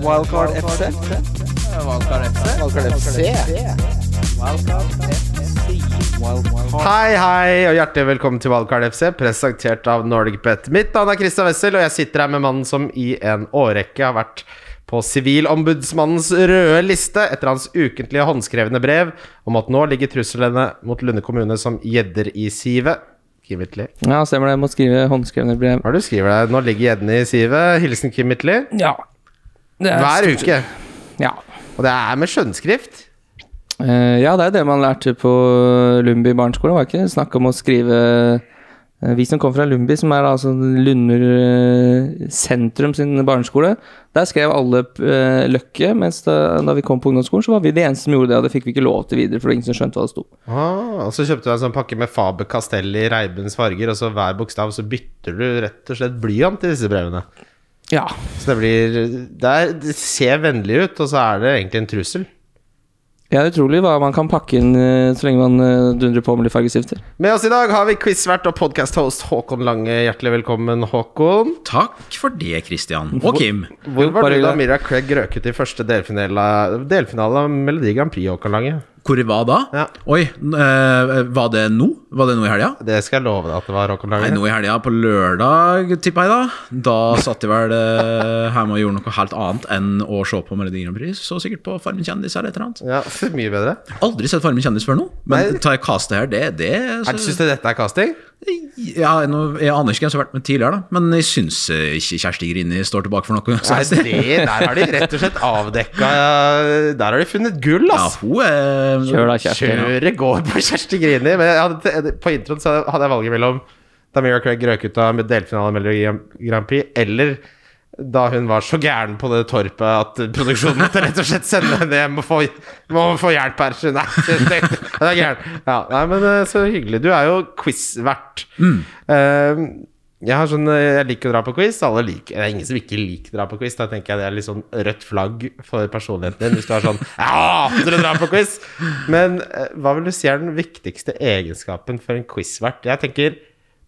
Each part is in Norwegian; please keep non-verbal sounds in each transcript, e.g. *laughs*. Wildcard FC. Valgkar FC. Wildcard FC. Hei, hei, og hjertelig velkommen til Wildcard FC, presentert av Nordic Bet. Mitt navn er Christian Wessel, og jeg sitter her med mannen som i en årrekke har vært på Sivilombudsmannens røde liste etter hans ukentlige håndskrevne brev om at nå ligger truslene mot Lunde kommune som gjedder i sivet. Kim Hitley. Ja, stemmer det. Jeg må skrive håndskrevne brev. Hva er det du skriver der? Nå ligger gjeddene i sivet. Hilsen Kim Hitley. Ja. Det er Hver uke. Ja. Og det er med skjønnskrift. Eh, ja, det er jo det man lærte på Lumbi barneskole. Var ikke snakk om å skrive eh, Vi som kom fra Lumbi, som er altså Lunder eh, sentrum sin barneskole, der skrev alle eh, Løkke, mens da, da vi kom på ungdomsskolen, så var vi de eneste som gjorde det, og det fikk vi ikke lov til videre, for det var ingen som skjønte hva det sto. Ah, og så kjøpte du en sånn pakke med Faber Castell i Reibens farger, og så hver bokstav så bytter du rett og slett blyant i disse brevene. Ja. Så det blir Det, er, det ser vennlig ut, og så er det egentlig en trussel. Det er utrolig hva man kan pakke inn eh, så lenge man eh, dundrer på med litt fargestifter. Med oss i dag har vi quizvert og podcast-host Håkon Lange. Hjertelig velkommen, Håkon. Takk for det, Christian. Og Kim. Hvor var bare du da hyggelig. Mira Craig røk ut i første delfinale, delfinale av Melodi Grand Prix, Håkon Lange? Hvor var da? Ja. Oi, eh, var det nå? Var det nå i helga? Det skal jeg love deg at det var, Håkon Nei, Lange. nå i helga, på lørdag, tipper jeg da. Da satt jeg vel eh, hjemme og gjorde noe helt annet enn å se på Melodi Grand Prix. Så sikkert på Farmen kjendis eller et eller annet. Ja, så mye bedre. Aldri sett Farmen kjendis før nå, men ta jeg castet her, det, det Er det- Syns du dette er casting? Ja, nå- jeg aner ikke hvem som har vært med tidligere, da. Men jeg syns eh, ikke Kjersti Grini står tilbake for noe. Nei, det, der har de rett og slett *laughs* avdekka Der har de funnet gull, Ja, ass! hun er Kjør da, Kjersti. Kjøret går på Kjersti Grini. Men jeg hadde, på introen så hadde jeg valget mellom da Mira Craig røk ut av delfinalen i Melodi Grand Prix, eller da hun var så gæren på det torpet at produksjonen måtte rett og slett sende henne hjem og få, må få hjelp her. Hun er, hun er gæren. Ja, nei, men eh, så hyggelig. Du er jo quiz-vert. Eh, jeg, har sånn, eh, jeg liker å dra på quiz. Alle liker, det er ingen som ikke liker å dra på quiz. Da tenker jeg det er litt sånn rødt flagg for personligheten din. Hvis du er sånn Jeg hater å dra på quiz! Men eh, hva vil du si er den viktigste egenskapen for en quizvert? Jeg tenker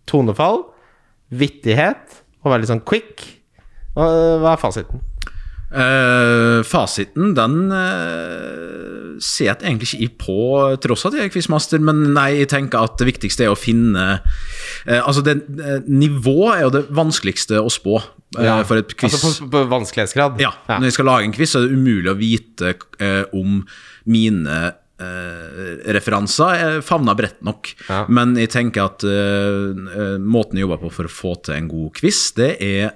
tonefall, vittighet, å være litt sånn quick. Og, eh, Hva er fasiten? Eh, fasiten, den eh, ser jeg egentlig ikke i på, tross at jeg er quizmaster, men nei, jeg tenker at det viktigste er å finne eh, Altså, det, eh, nivå er jo det vanskeligste å spå eh, for et quiz. Altså på, på vanskelighetsgrad? ja, Når jeg skal lage en quiz, så er det umulig å vite eh, om mine eh, referanser eh, favner bredt nok. Ja. Men jeg tenker at eh, eh, måten jeg jobber på for å få til en god quiz, det er eh,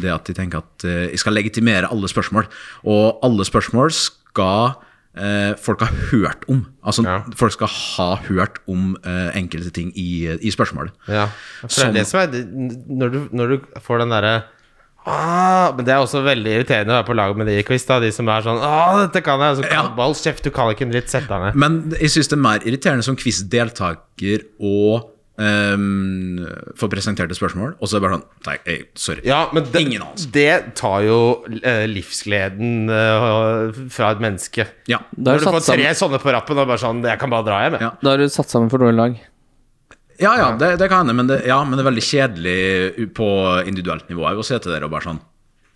det at jeg tenker at eh, jeg skal legitimere alle spørsmål. Og alle spørsmål skal eh, folk ha hørt om. Altså, Ja. folk skal ha hørt om eh, enkelte ting i, i spørsmålet. Ja, for det sånn. er det som er det- Når du, når du får den derre Ah, men det er også veldig irriterende å være på lag med de i quiz. da De som er sånn ah, 'Dette kan jeg.' Så kan, Ja. Hold kjeft, du kan ikke en dritt. Sett deg ned. Men jeg syns det er mer irriterende som quizdeltaker å ehm, få presenterte spørsmål, og så er det bare sånn Nei, ei, sorry. Ja, men det, Ingen anelse. det tar jo eh, livsgleden eh, fra et menneske. Ja. Da Når har du du får satt tre sammen, sånne på rappen og bare sånn 'Jeg kan bare dra hjem', jeg. Ja. da har du satt sammen for dårlig lag. ja, ja, det, det kan hende, men, det- ja, men det er veldig kjedelig på individuelt nivå òg å se til dere og bare sånn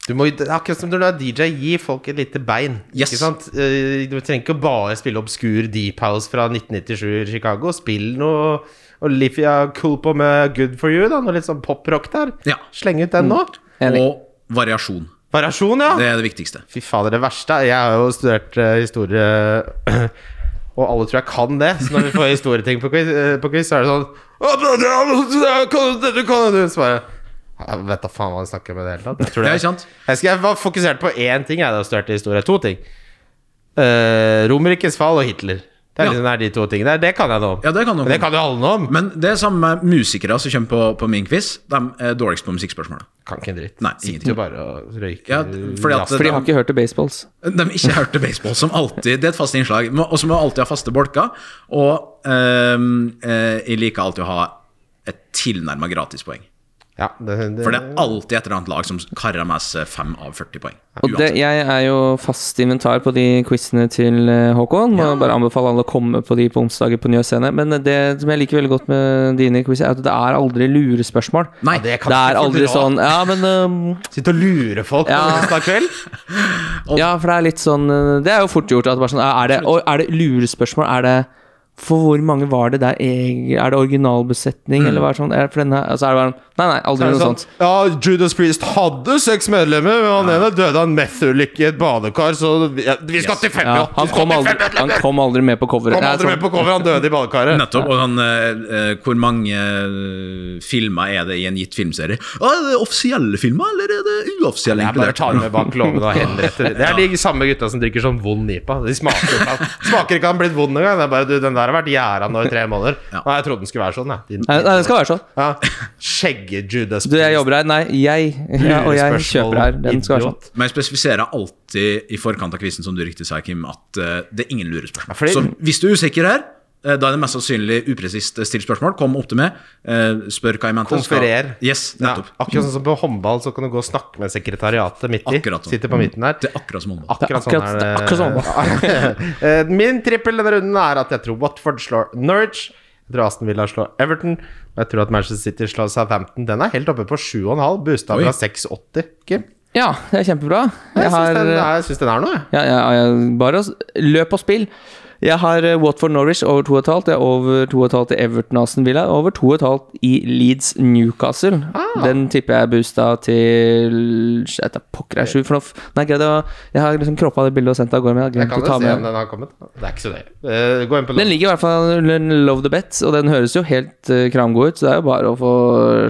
Du må, jo- akkurat som når du er DJ, gi folk et lite bein. Yes. Ikke sant? Eh, Du trenger ikke bare spille obskur deep house fra 1997 i Chicago. Spill noe Olivia Culpo med Good for you, da. Noe litt sånn poprock der. Ja. Sleng ut den nå. Enig. Og variasjon. Variasjon, ja. Det er det viktigste. Fy fader, det verste er- Jeg har jo studert eh, historie *clears throat* Og alle tror jeg kan det Så når vi får historieting på quiz, eh, på quiz Så er det sånn «Å, det- det- det- kan- det- du kan det», Så bare jeg vet da faen hva de snakker med det hele tatt Jeg, tror Det er sant. jeg, skal, jeg var fokusert på én ting Jeg da studerte historie, to ting uh, Romerikes fall og Hitler Det er, Ja. liksom, det er de to tingene der, det kan jeg noe om Ja, det kan noe Men det om. kan jo alle noe om Men det er samme med musikere som kommer på, på min quiz. De er dårligst på musikkspørsmål. Kan ikke en dritt Nei, Sitter ingenting. jo bare og røyker Ja, fordi at- jazz. For de har ikke hørt til baseballs. De har ikke hørt til baseball, som alltid. Det er et fast innslag. Må- Og så må jeg alltid ha faste bolker. Og ehm, eh, jeg liker alltid å ha et tilnærma gratispoeng. Ja, det, det, For det er alltid et eller annet lag som karer med seg 5 av 40 poeng. Og det, Uansett. jeg er jo fast inventar på de quizene til eh, Håkon. Må bare anbefale alle å komme på de på onsdager på Njø scene. Men eh, det som jeg liker veldig godt med dine quiz, er at det er aldri lurespørsmål. Nei, Ja, det kan Det er ikke aldri bli bra. sånn Ja, men eh, Sitte og lure folk ja. Ja. onsdag kveld? Ja, for det er litt sånn eh, Det er jo fort gjort. At bare sånn, eh, er, det, og er det lurespørsmål? Er det For hvor mange var det der? eg- Er det originalbesetning, eller hva er det sånn? Er det for denne? Altså, er det bare, nei, nei, aldri Mm. Er det noe sånn, sånt. ja, Judas Priest hadde seks medlemmer, men han ene døde av en methulykke i et badekar, så vi ja, vi skal Yes. til 50! Ja, Ja, han, kom aldri, han kom aldri med på coveret. Det Kom er aldri sånn- med på cover, han døde i badekaret. Nettopp. Og sånn, eh, eh, hvor mange eh, filmer er det i en gitt filmserie? Å, er det offisielle filmer, eller er det uoffisielle? Jeg bare inkludert? tar med bak låven og henretter Det er de samme gutta som drikker sånn vond nipa. De smaker, ikke av- smaker ikke han blitt vond engang. Det er bare, du, den der har vært gjæra nå i tre måneder. Ja. Nei, jeg trodde den skulle være sånn, jeg. Nei, nei, det skal være sånn. Ja. Skjegge Judas Du, jeg jobber her. Nei, jeg. Ja, og jeg Lurespørsmål, kjøper her. Den skal være sånn. idiot. Men jeg spesifiserer alltid i forkant av quizen, som du riktig sa, Kim, at eh, det er ingen lurespørsmål. fordi- Så hvis du er usikker her, eh, da er det mest sannsynlig upresist eh, stilt spørsmål. Kom opp til meg, eh, spør hva jeg mente. skal- Konferer. Yes, Ja, nettopp. akkurat sånn som på håndball, så kan du gå og snakke med sekretariatet midt i. Akkurat sånn. Sitter på midten der. Det er akkurat som håndball. Akkurat, Det er akkurat- det er sånn er det. Eh, Min trippel denne runden er at jeg tror Watford slår Norwich. Jeg tror Aston Villa slår Everton. Og jeg tror at Manchester City slår Southampton. Den er helt oppe på 7,5. Boosta Oi. fra 6,80. Kim? Ja, det er kjempebra. Jeg Jeg syns har eh, den, ja, jeg syns den er noe, jeg. ja, ja, Bare å s- løp og spill. Jeg har eh, Watford Norwich over 2,5. Det er over 2,5 til Everton Aston Villa. Over 2,5 i Leeds Newcastle. Ah. Den tipper jeg boosta til shit, Jeg vet da pokker jeg sju. For nå f- Nei, greide å Jeg har liksom kroppa det bildet og sendt det av gårde, men jeg har Jeg glemt å kan jo ta se om med den har kommet. Det er ikke så nøye. Eh, Gå inn på Mm, Den den. ligger i hvert fall under Love the Bet, og den høres jo helt eh, kramgod ut, så det er jo bare å få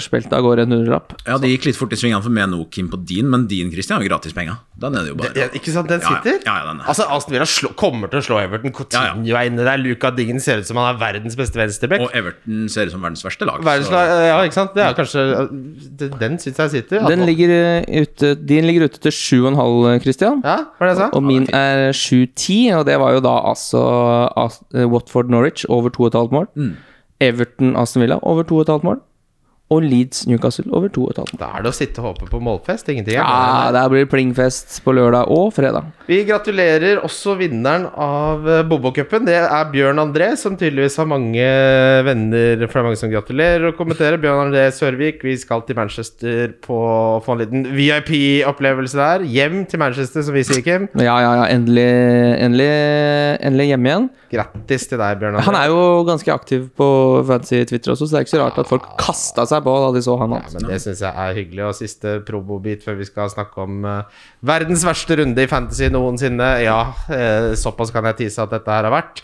spilt av gårde en hundrelapp. Ja, Det gikk litt fort i svingene for meg nå, Kim, på din, men din Christian har jo gratispenger. Den er det jo bare Ja, Ikke sant, den Ja, ja. sitter? Ja, ja, den er. Altså, Aston Villa slå, kommer til å slå Everton. Coutinho er inne der. Luca Dingen ser ut som han er verdens beste venstreback. Og Everton ser ut som verdens verste lag. så- Verdenslag, ja, ikke sant? Det er kanskje det- Den syns jeg sitter. Den ligger eh, ute, din ligger ute til 7,5, eh, Christian. Ja, hva var det jeg sa? Og min er 7-10, og det var jo da altså As- eh, Watford Norwich over 2,5 mål. Mm. Everton Aston Villa over 2,5 mål. Og Leeds Newcastle over 2,5 mål. Da er det å sitte og håpe på målfest. Ingenting er Ja, bedre enn der blir det plingfest på lørdag og fredag. det. Vi gratulerer også vinneren av eh, Bobokupen. Det er Bjørn André, som tydeligvis har mange venner for det er mange som gratulerer og kommenterer. Bjørn André Sørvik, vi skal til Manchester på å få en liten VIP-opplevelse der. Hjem til Manchester, som vi sier, Kim. Ja, ja, ja. Endelig, endelig, endelig hjemme igjen. Grattis til deg, Bjørn André. Han er jo ganske aktiv på fancy Twitter også, så det er ikke så rart at folk kasta seg på da de så han. Ja, Altså. men Det syns jeg er hyggelig. Og siste probobit før vi skal snakke om eh, verdens verste runde i fantasy noensinne. Ja, eh, såpass kan jeg tise at dette her har vært.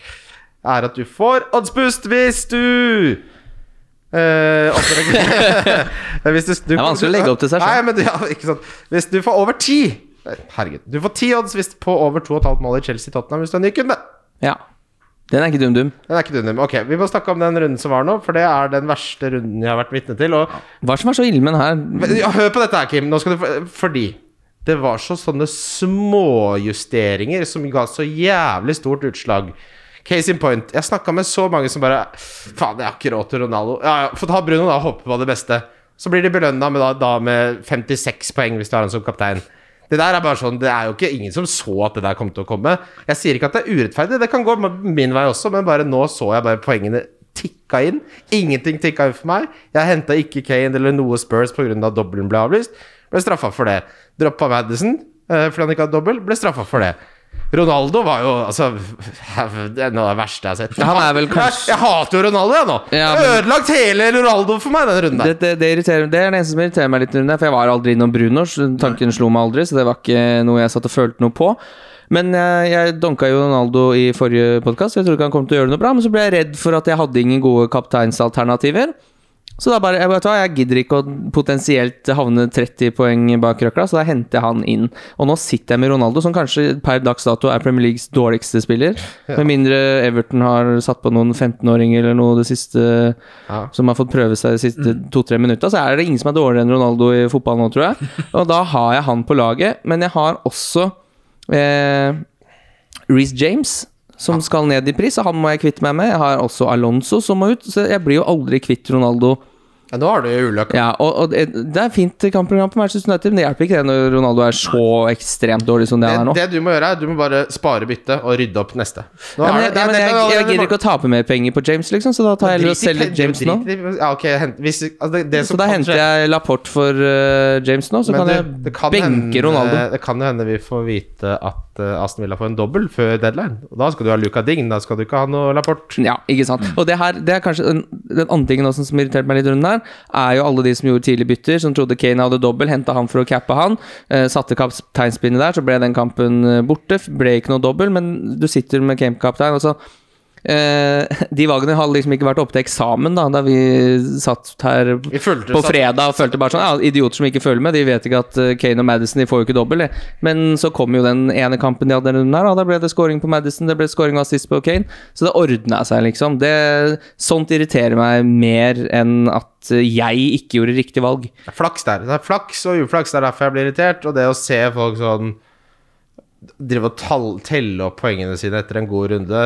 Er at du får oddsboost hvis du eh, *laughs* opplegger- *laughs* hvis du, du er vanskelig å legge opp til seg selv. Nei, men, du- ja, ikke sant. Hvis du får over ti Herregud. Du får ti odds hvis på over 2,5 mål i Chelsea-Tottenham hvis du er ny kunde. Ja. Den er ikke dum-dum. Den er ikke dum. Ok, Vi må snakke om den runden som var nå, for det er den verste runden jeg har vært vitne til. Og Hva som er så ille med den her? Men, ja, Hør på dette her, Kim. Nå skal du, få- fordi det var så sånne småjusteringer som ga så jævlig stort utslag. Case in point. Jeg snakka med så mange som bare Faen, jeg har ikke råd til Ronaldo. Ja, ja, Få ta Bruno, da. og Håpe på det beste. Så blir de belønna med, da, da med 56 poeng hvis du har han som kaptein. Det der er bare sånn, det er jo ikke ingen som så at det der kom til å komme. Jeg sier ikke at det er urettferdig, det kan gå min vei også, men bare nå så jeg bare poengene tikka inn. Ingenting tikka inn for meg. Jeg henta ikke Kane eller noe Spurs pga. at dobbelen ble avlyst. Ble straffa for det. Droppa Madison eh, fordi han ikke hadde dobbel. Ble straffa for det. Ronaldo var jo altså *laughs* Det er noe av det verste jeg har sett. Han er vel *laughs* Jeg, kanskje- jeg hater jo Ronaldo, jeg nå. Ja, men- Ødelagt hele Ronaldo for meg, denne runden der. Det, det, det, irriterer, det er det eneste som irriterer meg litt, rundt det, for jeg var aldri innom Bruno. så Tanken slo meg aldri, så det var ikke noe jeg satt og følte noe på. Men jeg, jeg donka jo Ronaldo i forrige podkast, jeg trodde ikke han kom til å gjøre noe bra. Men så ble jeg redd for at jeg hadde ingen gode kapteinsalternativer. Så da bare, jeg, vet du hva, jeg gidder ikke å potensielt havne 30 poeng bak røkla, så da henter jeg han inn. Og nå sitter jeg med Ronaldo, som kanskje per dags dato er Premier Leagues dårligste spiller. Med mindre Everton har satt på noen 15-åringer eller noe det siste Ja. som har fått prøve seg de siste to-tre minutta, så er det ingen som er dårligere enn Ronaldo i fotball nå, tror jeg. Og da har jeg han på laget, men jeg har også eh, Reece James, som skal ned i pris, og han må jeg kvitte meg med. Jeg har også Alonso som må ut, så jeg blir jo aldri kvitt Ronaldo Ja, nå har du jo ulykka. Ja, og, og det det er fint kampprogram på Manchester United, men det hjelper ikke det når Ronaldo er så ekstremt dårlig som det han er Det, nå. det du må gjøre, er du må bare spare byttet og rydde opp neste. Nå Ja, men jeg, er det- det ja, er- men det er- jeg, det jeg, er- gidder ikke å tape mer penger på James, liksom, så da tar jeg heller og Drit i selger pe- James nå. drit i- Ja, ok, hent, hvis, altså det, det Så som da kan henter skje- jeg Laporte for eh, James nå, så Men kan det- jeg det kan benke hende- Ronaldo. Det kan jo hende vi får vite at eh, Aston Villa får en dobbel før deadline. Og da skal du ha Luca Ding, da skal du ikke ha noe rapport. Ja, ikke sant. Mm. Og det her, det er kanskje den, den andre tingen også som irriterte meg litt rundt der, er jo alle de som gjorde tidlig bytter, som trodde Kane hadde dobbel, henta han for å cappe han. Eh, satte kapteinspinnet der, så ble den kampen eh, borte. f- Ble ikke noe dobbel, men du sitter med Kane-kaptein, og så eh, *laughs* De valgene hadde liksom ikke vært oppe til eksamen da, da vi satt her Vi fulgte på satt- fredag og følte bare sånn ja, Idioter som ikke følger med, de vet ikke at eh, Kane og Madison de får jo ikke dobbel. de. Men så kom jo den ene kampen de hadde den runden her, og da ble det scoring på Madison, det ble scoring og assist på Kane. Så det ordna seg, liksom. Det, sånt irriterer meg mer enn at eh, jeg ikke gjorde riktig valg. Det er Flaks der. Det er flaks og uflaks, det er derfor jeg blir irritert. Og det å se folk sånn drive og tall, telle opp poengene sine etter en god runde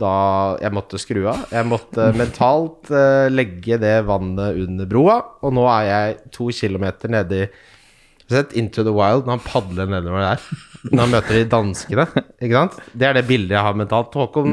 da jeg måtte skru av. Jeg måtte mentalt eh, legge det vannet under broa, og nå er jeg to kilometer nedi Har du Sett Into the Wild når han padler nedover der. Når han møter de danskene. Ikke sant? Det er det bildet jeg har mentalt. Håkon,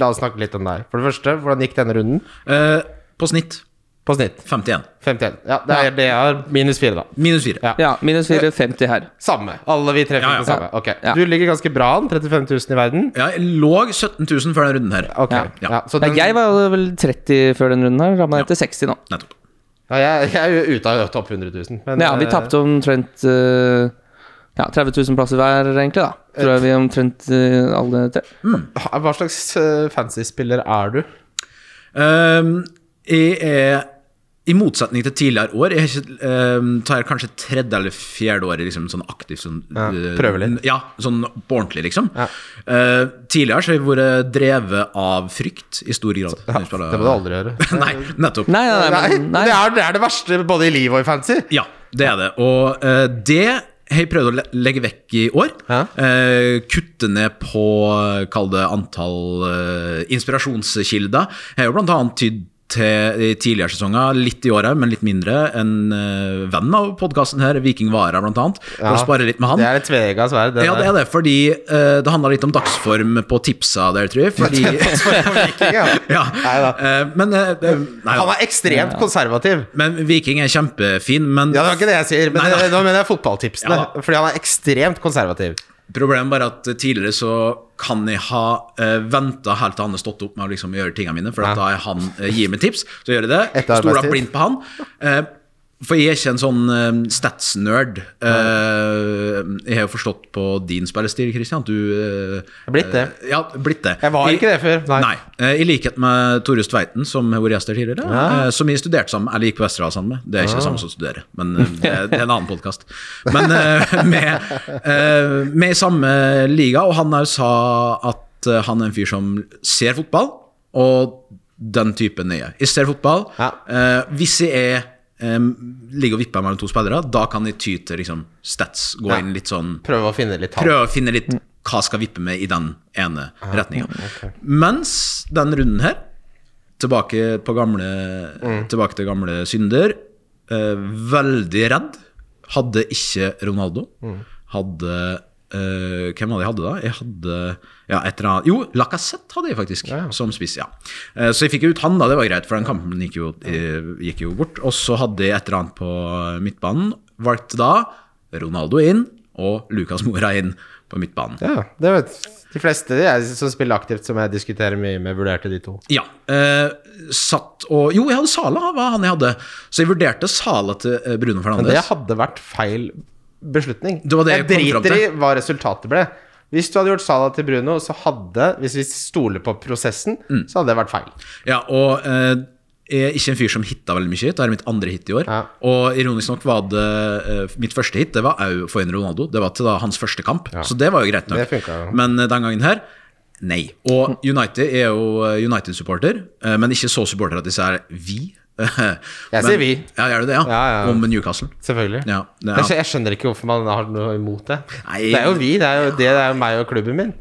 la oss snakke litt om deg. For det første, hvordan gikk denne runden? Eh, på snitt På snitt. 51. 51. Ja, det er det jeg har. Minus fire, da. Minus 4. Ja. Ja, minus 4,50 her. Samme. Alle vi treffer Ja, ja. på samme. Ok. Ja. Du ligger ganske bra an. 35 000 i verden. Ja, jeg lå 17 000 før denne runden her. Ok. Ja. Ja. så Ja, den, jeg var jo vel 30 før den runden her, ramma ned til 60 nå. Nettopp. ja, jeg, jeg er jo ute av topp 100 000. Men, Ja, vi eh, tapte omtrent eh, ja, 30 000 plasser hver, egentlig, da. Tror jeg vi omtrent eh, alle tre. ha- Hva slags eh, fancy spiller er du? Ehm, jeg er i motsetning til tidligere år Jeg er ikke, ehm, tar kanskje tredje eller fjerde året liksom, sånn aktivt. Sånn, Ja, eh, prøver litt. Ja, sånn på ordentlig, liksom. Ja. Eh, tidligere så har jeg vært drevet av frykt i stor grad. Ja, det må du aldri gjøre. *laughs* Nei, nettopp. Nei, nei, nei, Nei, men, nei. Det, er, det er det verste både i livet og i fancy. Ja, det er det. Og eh, det har jeg prøvd å le- legge vekk i år. Ja. Eh, kutte ned på, eh, kall det, antall eh, inspirasjonskilder. Jeg har jo blant annet tydd til i tidligere sesonger, litt i året, men litt mindre. En eh, venn av podkasten her, Viking Vara, blant annet. For å spare litt med han. Det er et tvega sverd. ja, det er det, fordi eh, det handla litt om dagsform på tipsa der, tror jeg. Fordi *laughs* *laughs* ja. Neida. Eh, men eh, eh, nei, Han er ekstremt konservativ. Men Viking er kjempefin, men Ja, det var ikke det jeg sier, men Nei, nei. det- nå mener jeg fotballtipsene. Ja, da. fordi han er ekstremt konservativ. Problemet bare at tidligere så kan jeg ha uh, venta helt til han har stått opp med å liksom gjøre tingene mine, for at da er han eh, gir meg tips, så gjør jeg det. Etter Stoler arbeidstid. blindt på han. Eh, for jeg er ikke en sånn eh, stats-nerd. Eh, jeg har jo forstått på din spillestil, Christian, at du eh, Jeg er blitt det. eh, Ja, blitt det. Jeg var ikke det før, nei. Nei. Eh, I likhet med Tore Tveiten, som har vært gjest her tidligere, eh, som jeg studerte sammen eller gikk på Vesterålen sammen med. Det er ikke det samme som å studere, men eh, det er det er en annen podkast. Men eh, *laughs* med, eh, med i samme liga, og han også sa at eh, han er en fyr som ser fotball, og den typen er jeg. Jeg ser fotball. Ja. eh, hvis jeg er eh, ligger og vipper mellom to spillere, da kan jeg ty til liksom, stats, gå Ja. inn litt sånn Prøve å finne litt tall. prøve å finne litt hva skal vippe med i den ene retninga. Mens den runden her, tilbake, på gamle, tilbake til gamle synder, eh, veldig redd. Hadde ikke Ronaldo. Hadde eh, Hvem var det jeg hadde da? Jeg hadde ja, et eller annet Jo, Lacassette hadde jeg faktisk, som spiss. ja. Eh, så jeg fikk jo ut han, da. Det var greit, for den kampen gikk jo, eh, gikk jo bort. Og så hadde jeg et eller annet på eh, midtbanen. Valgte da Ronaldo inn og Lucas Mora inn på midtbanen. Ja, det vet de fleste jeg, som spiller aktivt, som jeg diskuterer mye med, vurderte de to. Ja. Eh, satt og Jo, jeg hadde Sala, var han jeg hadde. Så jeg vurderte Sala til eh, Bruno Men det Fernandes. hadde vært feil beslutning. Det var det jeg jeg kom fram driter i til. hva resultatet ble. Hvis du hadde gjort Salah til Bruno, så hadde Hvis vi stoler på prosessen, Mm. så hadde det vært feil. Ja, og eh, jeg er ikke en fyr som hitta veldig mye. Det er mitt andre hit i år. Ja. Og ironisk nok var det eh, mitt første hit. Det var òg for en Ronaldo. Det var til da hans første kamp, så det var jo greit nok. Det funka jo. Men eh, den gangen her Nei. Og United er jo eh, United-supporter, eh, men ikke så supporter at de sier vi. *laughs* jeg sier vi. Ja, gjør du det? Ja. Ja, ja. Om Newcastle. Selvfølgelig. Ja, det- Jeg skjø- Jeg skjønner ikke hvorfor man har noe imot det. Nei. det er jo vi. Det er jo, det er jo meg og klubben min.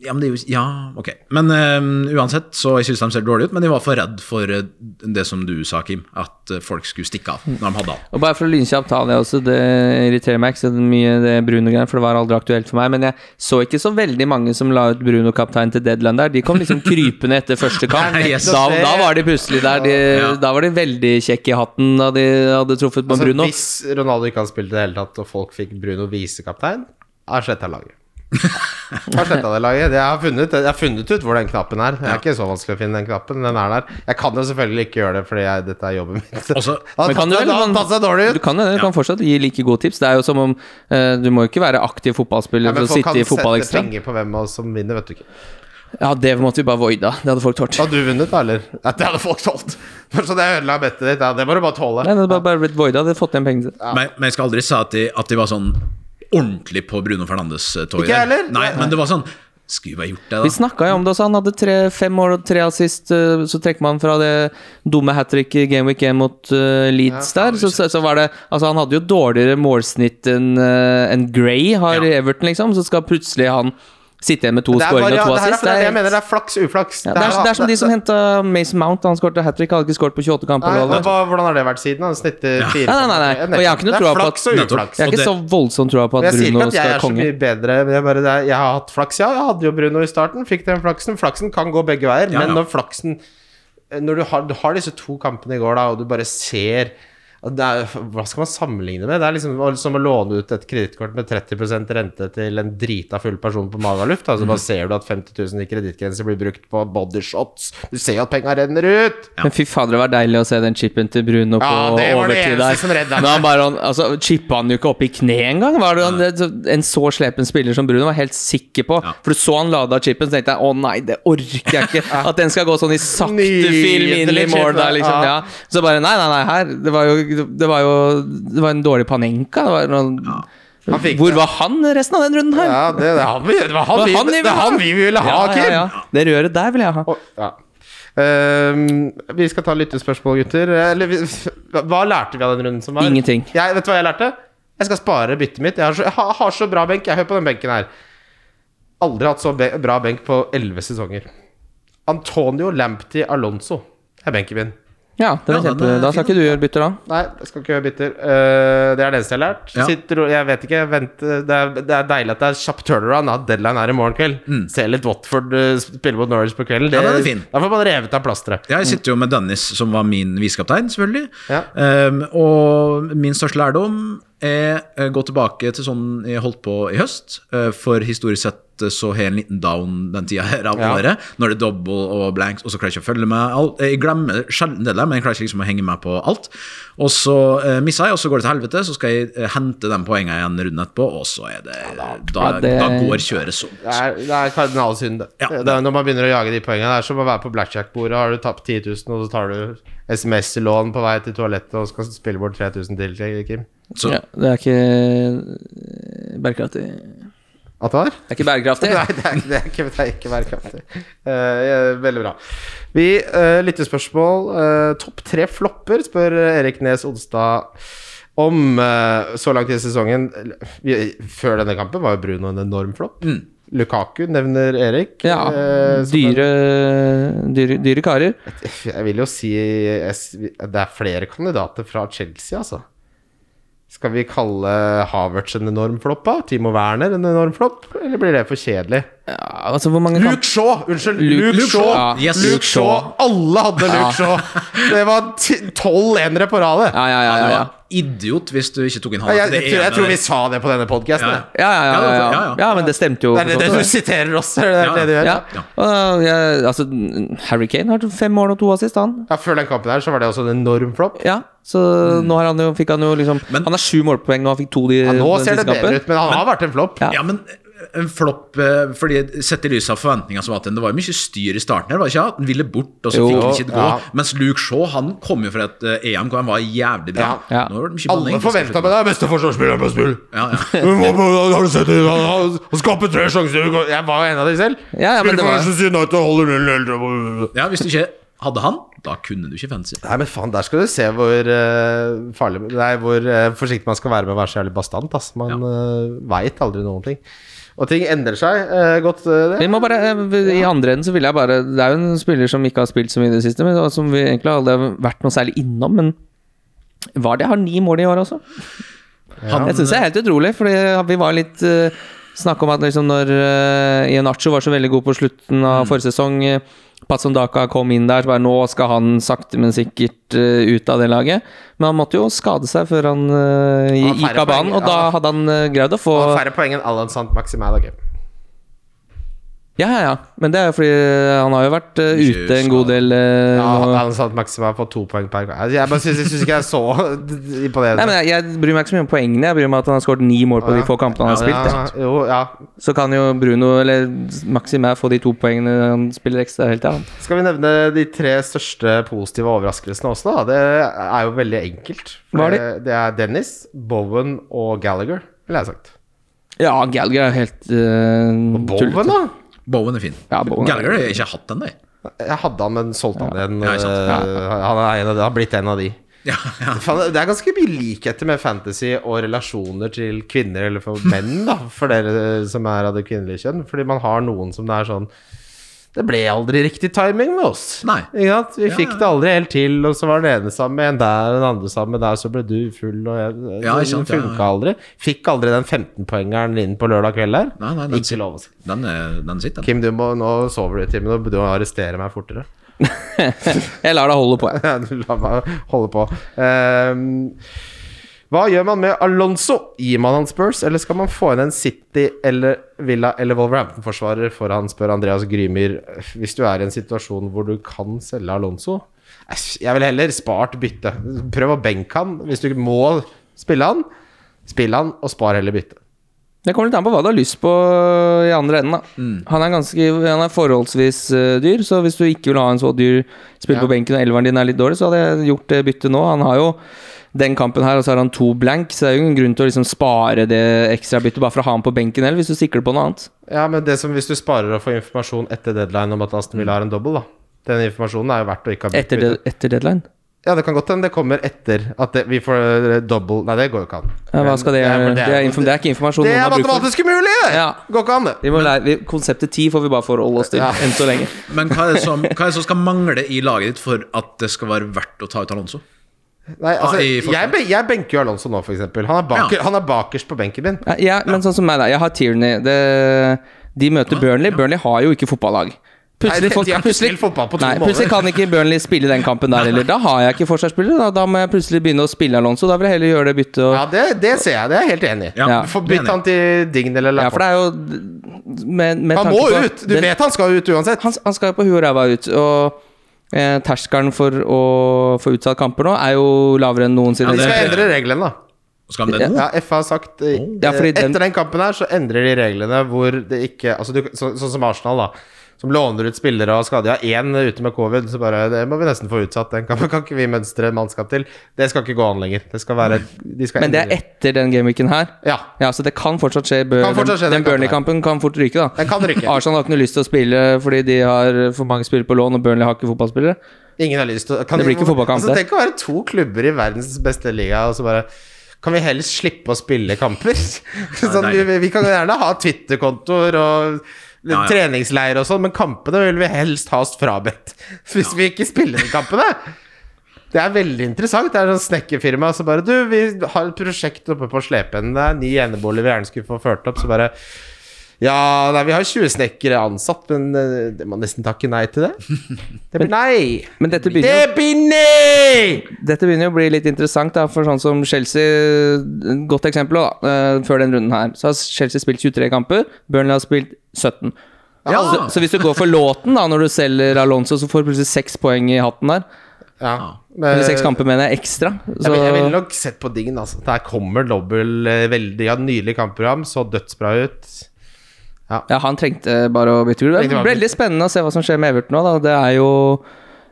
Ja, men det er jo Ja, ok. Men eh, uansett, så jeg syns de ser dårlige ut, men jeg var for redd for eh, det som du sa, Kim, at eh, folk skulle stikke av når de hadde han. Og bare for å lynkjapt ta det også, det irriterer meg ikke så mye det Bruno-greiene, for det var aldri aktuelt for meg, men jeg så ikke så veldig mange som la ut Bruno-kaptein til deadline der. De kom *laughs* liksom krypende etter første kamp. Nei, yes. da, da var de plutselig der. De, Ja. Da var de veldig kjekke i hatten da de hadde truffet på Altså, Bruno. Hvis Ronaldo ikke hadde spilt i det hele tatt, og folk fikk Bruno visekaptein, har sletta laget. *laughs* Har sletta det laget. Jeg har, funnet, jeg har funnet ut hvor den knappen er. Det er ikke så vanskelig å finne den knappen. Den er der. Jeg kan jo selvfølgelig ikke gjøre det, fordi jeg, dette er jobben min. *laughs* Også- Da Altså, Men kan passer du det- vel- sånn- da passer det dårlig Du ut. kan, det, du kan fortsatt gi like gode tips. Det er jo som om eh, Du må jo ikke være aktiv fotballspiller Ja, for men å folk sånn sitte kan i sette fotballekstra. penger på hvem av oss som vinner, vet du ikke. Ja, det måtte vi bare voida. Det hadde folk tålt. Hadde du vunnet, da, eller? *laughs* Ja, det hadde folk tålt. Bare Så det ødela bettet ditt. Ja, det må du bare tåle. Nei, det hadde bare, bare blitt voida. Det hadde fått igjen pengene sine. Men, men jeg skal aldri si at de, at de var sånn ordentlig på Bruno eh, Fernandes-toget. Ikke jeg heller. Nei, men det var sånn Skulle vi bare gjort det, da? Vi snakka jo om det også. Han hadde tre, fem mål og tre assist. eh, Så trekker man fra det dumme hat trick i Game Week 1 mot eh, Leeds der. Så, så, så var det Altså, han hadde jo dårligere målsnitt enn eh, enn Gray har i Ja. Everton, liksom. Så skal plutselig han sitte igjen med to Det er skåringer varia- og to det her er, assist. det er det jeg helt- mener. Det er flaks, uflaks. ja, det, er, det er som de som henta Mason Mount. Han skårte hat trick, hadde ikke skåret på 28 kamper. Nei, eller hva men det var. hva, hvordan har det vært siden? Han snitter Ja. fire Nei, nei, nei, nei. Og jeg har ikke noe Det tro er på at- flaks og Nettopp. uflaks. Jeg har Og ikke så voldsom troa på Men at Jeg sier ikke Bruno at jeg skal er så konge. mye bedre, men jeg, bare, det er, jeg har hatt flaks. Ja, jeg hadde jo Bruno i starten, fikk den flaksen. Flaksen kan gå begge veier, Ja, men ja. når flaksen Når du har, du har disse to kampene i går, da, og du bare ser og det er, Hva skal man sammenligne med? Det er liksom som å låne ut et kredittkort med 30 rente til en drita full person på Magaluf. Da, så Mhm. bare ser du at 50 000 i kredittgrense blir brukt på bodyshots. Du ser jo at penga renner ut! Men fy fader, det var deilig å se den chipen til Bruno på Ja, det var det overtid eneste der. som redda Men han bare, han, altså, chippa han jo ikke opp i kneet engang. Var det, han, det, en så slepen spiller som Bruno var helt sikker på. Ja. For du så han lada chipen, så tenkte jeg å nei, det orker jeg ikke. *laughs* At den skal gå sånn i sakte Nydelig film inn i mål chip, der, liksom. ja. Ja. Så bare nei, nei, nei, her. Det var jo Det var jo Det var en dårlig panenka. Det var noen, Han fikk Hvor det. var han resten av den runden her? Ja, det, det, er han vi, det, var han vi, Det var han vi det er han vi ville ha, Ja, Kim! ja, ja. Det røret der vil jeg ha. Og- ja. Ehm, vi skal ta lyttespørsmål, gutter. Eller, vi, hva lærte vi av den runden som var? Ingenting. Jeg, vet du hva jeg lærte? Jeg skal spare byttet mitt. Jeg har så, jeg har, har så bra benk. Jeg Hør på den benken her. Aldri hatt så be bra benk på elleve sesonger. Antonio Lamptey Alonso er benken min. Ja, det var Ja, kjempe, den er da skal fin. ikke du gjøre bytter da. Nei, jeg skal ikke gjøre bytter. Eh, det er det eneste jeg har lært. Ja. Sitt ro- jeg vet ikke, vent, eh, det, er, det er deilig at det er kjapp turnaround. At deadline er i morgen kveld. Se litt Watford eh, spille mot Norwich på kvelden. Mm. Ja, den er fin. Da får man revet av plasteret. Jeg sitter jo med Dennis, som var min visekaptein, selvfølgelig. Ja. Ehm, og min største lærdom er eh, gå tilbake til sånn jeg holdt på i høst. eh, for historisk sett eh, så har jeg en liten down den tida her av Ja. året. Når det er double og blanks, og så klarer jeg ikke å følge med. Alt. Jeg glemmer sjelden det der, men jeg klarer ikke liksom å henge med på alt. Og så uh, misser jeg, og så går det til helvete. Så skal jeg eh, hente de poengene igjen runden etterpå, og så er det Da, Ja, det- da går kjøret så Det er, det er kardinalsynd. det. Ja. Det er når man begynner å jage de poengene. Det er som å være på blackjack-bordet. Har du tapt 10 000, og så tar du SMS-lån på vei til toalettet og skal spille bort 3000 til, Kim. så- Ja, det er ikke bærekraftig. Det At det var? er ikke bærekraftig. *laughs* Nei, det er, det er ikke, det er ikke bærekraftig. Eh, veldig bra. Vi uh, lyttespørsmål. eh, Topp tre flopper, spør Erik Nes Odstad om eh, så langt i sesongen. Vi, før denne kampen var jo Bruno en enorm flopp. Lukaku nevner Erik. Mm. Ja, eh, som en- dyre, dyre, dyre karer. Jeg vil jo si jeg s- Det er flere kandidater fra Chelsea, altså. Skal vi kalle Havertz en enorm flopp, da? Timo Werner en enorm flopp? Eller blir det for kjedelig? Ja, altså hvor mange kamp- Luke Shaw! Unnskyld, Luke- Luke, Luke Shaw! Shaw, ja. Yes. Luke Luke Shaw. Shaw. Alle hadde Luke Shaw! Det var ti- tolv enere på radet. Ja, ja, ja. Ja, ja, du ja. var idiot hvis du ikke tok en Jeg, halv jeg, tror, til det jeg ene tror der. vi sa det på denne podkasten. Ja, Ja, ja, ja, ja, ja. ja, men det stemte jo. Det er det, for det så du vidt, siterer oss, er det Ja, det du det. gjør? Ja. Og, jeg- altså, Harry Kane har fem mål og to assist, han. Ja, Før den kampen her så var det også en enorm flopp. Ja, så nå har han jo, fikk han jo liksom Men- Han har sju målpoeng, og han fikk to de Ja, nå den ser det siste kampen. bedre ut, men han har vært en flopp. Ja. Ja, men en flopp eh, Fordi Sett i lys av forventningene som var til den, det var jo mye styr i starten her, var det ikke? At den ville bort, og så Jo, fikk den ikke gå. ja. Mens Luke Shaw, han kom jo fra et eh, EM hvor han var jævlig bra. Ja. Nå var det mye Alle banning. forventa med deg beste forsvarsspiller på spill. Ja, ja. Du må- må- Har du sett det? Han har- Han skaper tre sjanser. Jeg var jo en av de selv. Ja, ja, men det Spiller for var- Manchester United, holder 0-0. ja, hvis du ikke Hadde han, da kunne du ikke fancy. Nei, men faen, der skal du se hvor eh, farlig Nei, hvor eh, forsiktig man skal være med å være så jævlig bastant. Ass. Man ja. veit aldri noen ting. Og ting endrer seg eh, godt, eh, Vi det. må bare, I andre enden så vil jeg bare Det er jo en spiller som ikke har spilt så mye i det siste, men og som vi egentlig aldri har vært noe særlig innom. Men var det har ni mål i år også? Han, Jeg syns det er helt utrolig, fordi vi var litt uh, Snakk om at liksom når uh, Ionacho var så veldig god på slutten av Mm. forrige sesong eh, Patsondaka kom inn der, så bare nå skal han sakte, men sikkert eh, ut av det laget. Men han måtte jo skade seg før han eh, Han har gikk færre av banen, poeng, og da ja. hadde han eh, greid å få Og færre poeng enn Alan Sant Maximal. Okay. Ja, ja, ja. Men det er jo fordi han har jo vært eh, Mye ute en god del eh, Ja, nå. Alan Sant Maximal får to poeng per kamp. Jeg bare syns ikke jeg er så *laughs* imponerende. Nei, men jeg, jeg bryr meg ikke så mye om poengene. Jeg bryr meg at han har skåret ni mål på de få kampene han har spilt. ja, jo, ja. Ja. Så kan jo Bruno eller Maximæ få de to poengene han spiller ekstra hele tida. Skal vi nevne de tre største positive overraskelsene også, da? Det er jo veldig enkelt. For Hva er de? det- Det er Dennis, Bowen og Gallagher, ville jeg sagt. Ja, Gallagher er jo helt eh, uh, Bowen, da? Bowen er fin. Ja, Bowen er- Gallagher har jeg ikke hatt ennå, jeg. Jeg hadde han, men solgte han igjen. Ja, ikke sant. Eh, Han er en av de, har blitt en av de. Ja, ja. Faen, Det er ganske mye likheter med fantasy og relasjoner til kvinner, eller for menn, da, for dere som er av det kvinnelige kjønn. Fordi man har noen som det er sånn Det ble aldri riktig timing med oss. Nei. Ikke sant? Vi Ja, fikk ja. det aldri helt til, og så var den ene sammen med en der, og den andre sammen med der, så ble du full, og jeg Ja, ikke Den sant, ja, funka ja. aldri. Fikk aldri den 15-poengeren inn på lørdag kveld der. Nei, nei, den, Ikke lov å si. den, er, den sitter. Kim, du må, nå sover du i timen, og du må arrestere meg fortere. *laughs* Jeg lar deg holde på, jeg. *laughs* La meg holde på. Ehm, hva gjør man med Alonso? Gir man han Spurs, eller skal man få inn en City eller Villa eller Wolverhampton-forsvarer for han, spør Andreas Grymyr. Hvis du er i en situasjon hvor du kan selge Alonso Æsj, Jeg vil heller spart bytte. Prøv å benke han. Hvis du må spille han, spill han, og spar heller bytte. Det kommer litt an på hva du har lyst på i andre enden. da Mm. han, er ganske, han er forholdsvis eh, dyr, så hvis du ikke vil ha en så dyr spiller på benken, og elveren din er litt dårlig, så hadde jeg gjort det byttet nå. Han har jo den kampen her, og så har han to blank, så det er jo ingen grunn til å liksom spare det ekstra byttet bare for å ha han på benken eller hvis du sikler på noe annet. Ja, men det som hvis du sparer å få informasjon etter deadline om at Aston Villa har en dobbel, da. Den informasjonen er jo verdt å ikke ha bytte- Etter, de, etter deadline. Ja, det kan godt hende det kommer etter at det, vi får eh, double Nei, det går jo ikke an. Ja, hva skal det, Det er- det, det er- er, inform- det er ikke informasjon Det noen er har bruk for. matematisk umulig! Det Ja. går ikke an, det. Vi må lære, vi, konseptet ti får vi bare forholde oss til Ja. enn så lenge. Men hva er, det som, hva er det som skal mangle i laget ditt for at det skal være verdt å ta ut Alonso? Nei, altså, Ah, i forsvar. jeg, ben- jeg benker jo Alonso nå, for eksempel. Han er, baker, Ja. han er bakerst på benken min. Ja, ja, men sånn som meg, da. Jeg har Tierney. Det, de møter Burnley. Burnley har jo ikke fotballag. Nei, de- de har spilt fotball på to nei, måneder. plutselig kan ikke Burnley spille den kampen der heller. Da har jeg ikke forsvarsspillere. Da, da må jeg plutselig begynne å spille Alonso. Da vil jeg heller gjøre det byttet. Og, Ja, det, det ser jeg. Det er jeg helt enig i. Ja. Du får bytte han enig. til Dign eller ja, for Laporte. det er jo med, med han tanke må på ut! Du den- vet han skal ut uansett. han, han skal jo på huet og ræva ut. Og eh, terskelen for å få utsatt kamper nå er jo lavere enn noensinne. Ja, De det- skal endre reglene, da. Skal han det nå? Ja, FA har sagt eh, Oh. Ja, fordi Etter den- den kampen her så endrer de reglene hvor det ikke altså du, så, Sånn som Arsenal, da. Som låner ut spillere og skader. Ja, én ute med covid, så bare Det må vi nesten få utsatt. Den kampen *laughs* kan ikke vi mønstre mannskap til. Det skal ikke gå an lenger. Det skal være de skal Men det er endre- etter den gameweeken her. Ja. Ja, så det kan fortsatt skje. Bør, Kan fortsatt skje den den den Burnley-kampen kan fort ryke, da. Den kan ryke. Arsenal har ikke noe lyst til å spille fordi de har for mange spillere på lån, og Burnley har ikke fotballspillere. Ingen har lyst til å kan Det blir ikke fotballkamp, altså, det. Tenk å være to klubber i verdens beste liga, og så bare kan vi heller slippe å spille kamper? *laughs* sånn, vi, deilig. vi kan gjerne ha Twitter-kontoer og Ja, ja. treningsleir og sånn, men kampene vil vi helst ha oss frabedt. *laughs* Hvis vi ikke spiller de kampene. Det er veldig interessant. Det er sånn snekkerfirma som bare Du, vi har et prosjekt oppe på Slepen. Det er ny enebolig vi gjerne skulle få ført opp, så bare Ja, nei, vi har 20 snekkere ansatt, men eh, det må nesten takke nei til *laughs* det. Det blir nei. Men dette begynner, Det blir nei! jo, dette begynner jo å bli litt interessant, da, for sånn som Chelsea et Godt eksempel, da. eh, Før den runden her. Så har Chelsea spilt 23 kamper. Burnley har spilt 17. Ja. Så, så hvis du går for låten da når du selger Alonso, så får du plutselig seks poeng i hatten der. Ja. Eller Men, seks kamper, mener jeg, ekstra. Så Eh, jeg, vil- jeg ville nok sett på dingen, altså. Der kommer dobbel eh, veldig ja, Nydelig kampprogram, så dødsbra ut. Ja, han trengte bare å bytte gulv. Trengte Det bare å blir veldig spennende å se hva som skjer med Everton nå. Da. Det er jo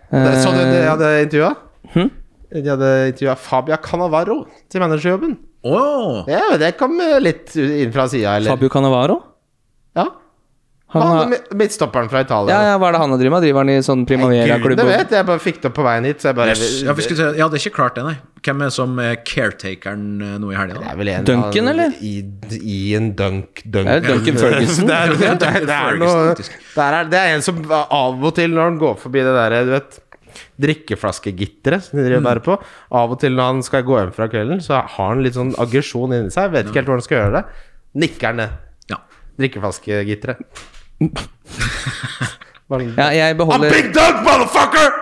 Det, eh, så du det jeg hadde intervjua? Hm? De hadde intervjua Fabia Cannavaro til managerjobben. Åh, Ja, men det kom eh, litt inn fra sida, eller? Fabio Cannavaro. Ja. Han Han, har, midtstopperen fra Italia. ja, ja, hva er det han har drevet med? Driver han i sånn Gud, det Primavera-klubb? vet jeg. Jeg bare fikk det opp på veien hit. Så jeg bare Yes. Ja, for skulle si- ja, det er ikke klart det, nei. Hvem er det som er caretakeren eh, nå i helga? Det da? er vel en Duncan, eller? I, i en dunk, Det dunk. er jo Duncan Ferguson. *laughs* Det er, det, er, *laughs* det, er, noe, Ferguson, faktisk. det, er, det er en som av og til, når han går forbi det der du vet, drikkeflaskegitteret som de driver og bærer på Av og til når han skal gå hjem fra kvelden, så har han litt sånn aggresjon inni seg. Vet ikke helt hvordan han skal gjøre det. Nikker han ned. Ja. *laughs* Drikkeflaskegitteret. Bare sånn, Ja, jeg I'm beholder big dunk, motherfucker!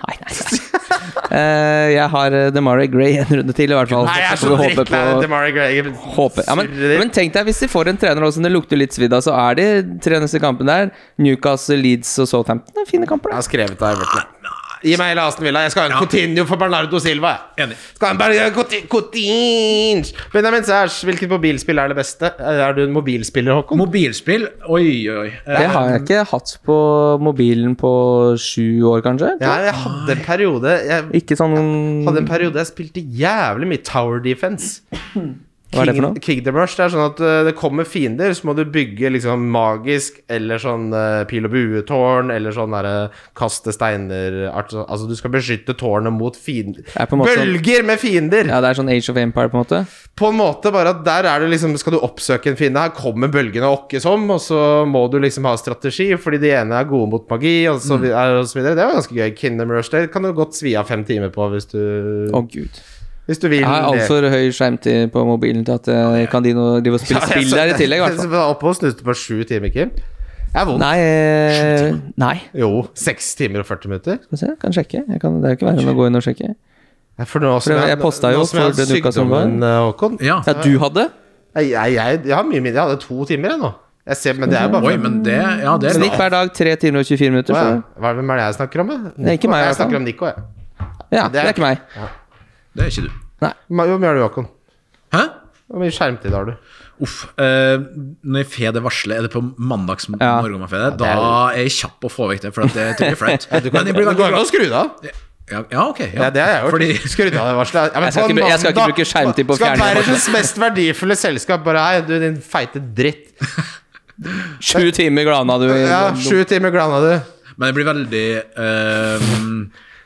Nei, nei, nei. Eh, jeg har uh, Demarie Gray en runde til, i hvert fall. Nei, jeg er så Får vi håpe drittlei på- av Demarai Gray. Jeg håper. Ja, men, surrer. men tenk deg hvis de får en trener også, som det lukter litt svidd av, så er de tre neste kampene der. Newcastle, Leeds og Southampton. Det er fine kamper, Jeg da. har skrevet det. Everton. Gi meg hele Aston Villa. Jeg skal ha en Coutinho for Bernardo Silva. jeg. Enig. Skal ha en Ber- Couti- Coutinho Benjamin Sæsj, hvilket mobilspill er det beste? Eh, Er du en mobilspiller, Håkon? Mobilspill, oi, oi, oi. Eh, Det har jeg ikke hatt på mobilen på sju år, kanskje. ja, jeg hadde en periode Jeg Ikke sånn hadde en periode jeg spilte jævlig mye Tower Defense. Hva er det for noe? King- Kingdom Rush. Det er sånn at eh, det kommer fiender, så må du bygge liksom magisk eller sånn eh, pil og buetårn eller sånn derre kaste steiner art- Altså du skal beskytte tårnet mot fiender. er på en måte sånn- Bølger med fiender! Ja, det er sånn Age of Empire, på en måte. På en måte bare at der er det liksom Skal du oppsøke en fiende, her kommer bølgene og åkkes om, og så må du liksom ha strategi, fordi de ene er gode mot magi, og Mm. så, vi- er- og så videre. Det var ganske gøy. Kingdom Rush det kan du godt svi av fem timer på hvis du, Å, gud. hvis du vil. Jeg altså har det. altfor høy skjermtid på mobilen til at eh, jeg kan de noe, de må spille Ja, jeg spill så- der i tillegg, i hvert fall. Jeg var oppe og snuste på sju timer, Kim. Det er vondt. Nei eh, Nei. Jo, seks timer og 40 minutter. Skal vi se, jeg kan sjekke. Jeg kan, det er jo ikke verre enn å gå inn og sjekke. Ja, For nå som For jeg- jeg postet jo nå som jeg for har den uka som var. sykdommen, eh, Håkon. Ja. Ja, du hadde? Jeg, jeg, jeg, jeg har mye mindre. Jeg hadde to timer, jeg nå. Jeg ser, men det er jo bare Oi, men det, ja, det er Snitt hver dag 3 timer og 24 minutter. Å, ja. Så. Hva er det, hvem er det jeg snakker om? jeg? er ikke Nico? meg, i Jeg hvert fall. snakker om Nico, jeg. Ja, det det er- er ikke meg. Det er ikke du. Ma- Hvor mye har du, Håkon? Hæ? Hvor mye skjermtid har du? Uff. eh, når jeg får det varselet, er det på mandags Ja. morgen man får det, da er jeg kjapp å få vekk det, for at det jeg tror jeg er *laughs* flaut. Men jeg blir Det veldig går an å glad. skru det av. Ja, ja, ok. Ja. Ja, det har jeg gjort. Fordi Skrudd av det varselet. Ja, men Jeg skal på en ikke bru- jeg skal ikke mandag- bruke skjermtid på å fjerne Skal det verdens mest verdifulle selskap bare Hei, du, din feite dritt. Sju timer glana du i Ja, Sju timer glana du. Men jeg blir veldig ehm,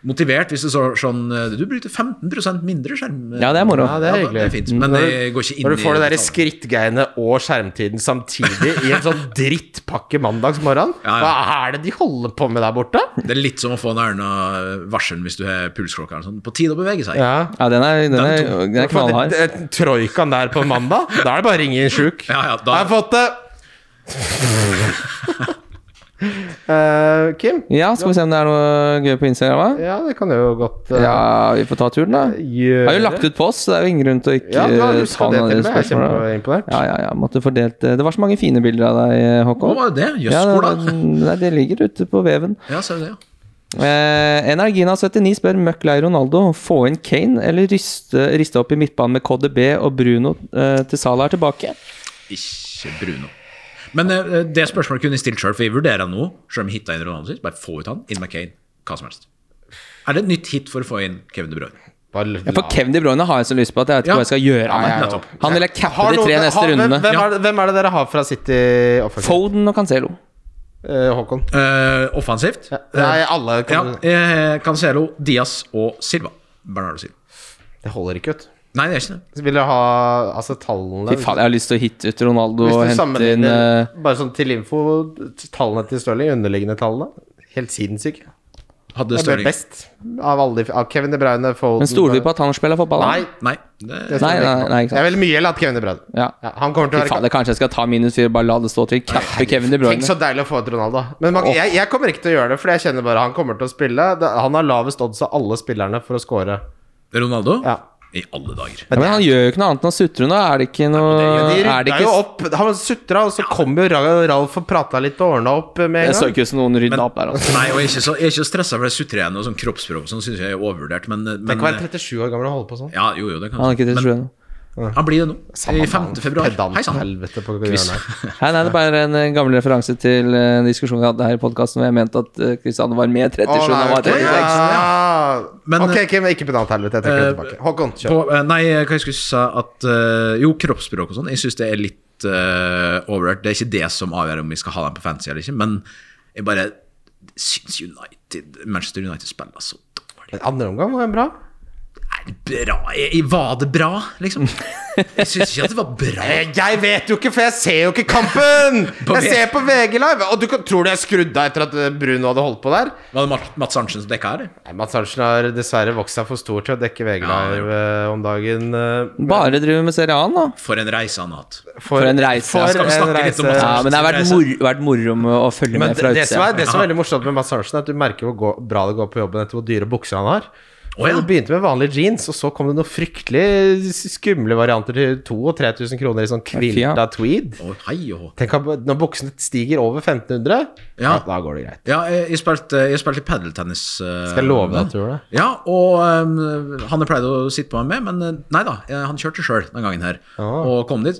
motivert hvis det står sånn eh, Du brukte 15 mindre skjerm. Ja, det er moro. Ja, det er hyggelig. Mm. det er fint, men Når du- jeg går ikke inn Når du får det der i detalj. skrittgreiene og skjermtiden samtidig i en sånn *laughs* drittpakke mandagsmorgen, Ja, hva er det de holder på med der borte? Det er litt som å få en Erna-varselen hvis du har pulsklokka. eller Sånn. På tide å bevege seg. Ja. Ja, den er, den er, den er Hvorfor knallhard. det- det- Troikaen der på mandag, da er det bare å ringe inn sjuk. Ja, ja, da- Jeg har fått det! *laughs* Eh, Kim? Ja, skal vi se om det er noe gøy på Instagram? da? Ja, det kan jeg jo godt eh, Ja, vi får ta turen, da. gjøre. Jeg har jo lagt ut på oss, så det er jo ingen grunn til å ikke Ja, du har eh, huska ta det noen av de til meg. Jeg er spørsmålene. kjempeimponert. Ja, ja, ja. Måtte fordelt eh, Det var så mange fine bilder av deg, eh, Hva Håkon. var det? altså. Jøss, Ja, hvor det, da? nei, det ligger ute på veven. Ja, ser du det, ja. Eh, Energina79 spør møkk lei Ronaldo. Få inn Kane eller riste, riste opp i midtbanen med KDB og Bruno eh, til Salah er tilbake? Ikke Bruno. Men eh, det spørsmålet kunne jeg stilt sjøl, for jeg vurderer nå, selv om jeg hitta inn Ronaldo sist, bare få ut han, inn McCain, hva som helst. Er det et nytt hit for å få inn Kevin De Bruyne? Bare Ja, la- for Kevin De Bruyne har jeg så lyst på at jeg vet ikke Ja. hva jeg skal gjøre av Nei, meg. jeg nettopp. òg. Han vil jeg cappe Har de noen- tre har- neste hvem- rundene. Hvem, er det- hvem er det dere har fra City offensivt? Foden og Cancelo. Eh, Håkon? Eh, offensivt? Nei, alle Ja, kan eh, Cancelo, Diaz og Silva. Bernardo Silva. Det holder ikke, ut Nei, det er ikke det. Så Vil dere ha altså tallene Fy faen, jeg har lyst til å hitte ut Ronaldo og Hvis du hente inn sammenligner eh, Bare sånn til info Tallene til Stirling, underliggende tallene Helt sinnssyke Hadde Det ble Stirling best av, alle, de- av Kevin De Bruyne Foden eh, Men stoler vi på at han spiller fotball? da? Nei Nei. Det, det Nei, stoler vi ikke nei, på. nei, ikke sant. Jeg vil mye eller at Kevin De Bruyne Ja. ja, Han kommer til Fy å faen, være det kanskje jeg skal ta minus fire, bare la det stå til. Cappe Kevin De Tenk så Bruyne. deilig å få ut Ronaldo Men man, Åh. jeg, jeg kommer ikke til å gjøre det Fordi jeg kjenner bare han kommer til å spille Det- Han har lavest odds av alle spillerne for å score Ronaldo? Ja I alle dager. Ja, men han gjør jo ikke noe annet enn å sutre nå. Er det ikke noe de Øh, er det rydda jo ikke, opp Han suttret Og så kom jo Ra- Ralf og pratet litt og ordnet opp med Jeg en så gang ikke ut som noen rydda opp der, altså. Nei, og jeg er ikke, så- jeg er ikke stressa for det sutrende og sånn kroppsspråk og sånn, syns jeg er overvurdert, men, men eh, Tenk å være 37 år gammel og holde på sånn ja, jo, jo, det kan Han er ikke Men 37 ennå. han blir det nå. I Samme 5. faen. februar. Pedant Hei sann. helvete på Quiz. hjørnet. Nei, nei, det er bare en eh, gammel referanse til eh, en diskusjon vi hadde her i podkasten hvor jeg mente at eh, Cristiano var med 37 Å, og han nei, var ok. 36. Ja. Men, eh, ok, Kim, ikke pedant helvete. Jeg trekker det tilbake. Håkon, kjør. På, eh, nei, hva jeg skulle si at eh, Jo, kroppsspråk og sånn. Jeg syns det er litt litt eh, overrørt. Det er ikke det som avgjør om vi skal ha dem på fancy eller ikke, men jeg bare syns United, Manchester United spiller så dårlig. Men Andre omgang var bra. Nei, bra jeg, jeg- Var det bra, liksom? Jeg syns ikke at det var bra. Eh, Jeg vet jo ikke, for jeg ser jo ikke kampen! *laughs* På Jeg V- ser på VG Live! Og du kan, tror du jeg skrudde av etter at eh, Bruno hadde holdt på der? Var det Mats- Mats Arntzen som dekka her? Nei, Mads Arntzen har dessverre vokst seg for stor til å dekke VG Ja, det er Live eh, om dagen. eh, Bare driver med Serie A, nå. For en reise han har hatt. For en reise. For Ja, skal vi en snakke litt reise. om Mads Ja, men det har vært, mor vært moro med å følge Men med fra det, det, som er, utsida. det som er veldig morsomt med Mads Arntzen, er at du merker hvor gå- bra det går på jobben etter hvor dyre bukser han har. Å, ja. Det begynte med vanlige jeans, og så kom det noen fryktelig skumle varianter til 2000-3000 kroner i sånn kvilta tweed. Å, hei og hå. Tenk at når buksene stiger over 1500, ja. Ja. da går det greit. Ja, jeg, jeg spilte, jeg spilte padeltennis. eh, Skal jeg love deg at du gjorde det? Ja, og eh, han jeg pleide å sitte på meg med, men eh, nei da, eh, han kjørte sjøl den gangen her. Ah. Og kom dit.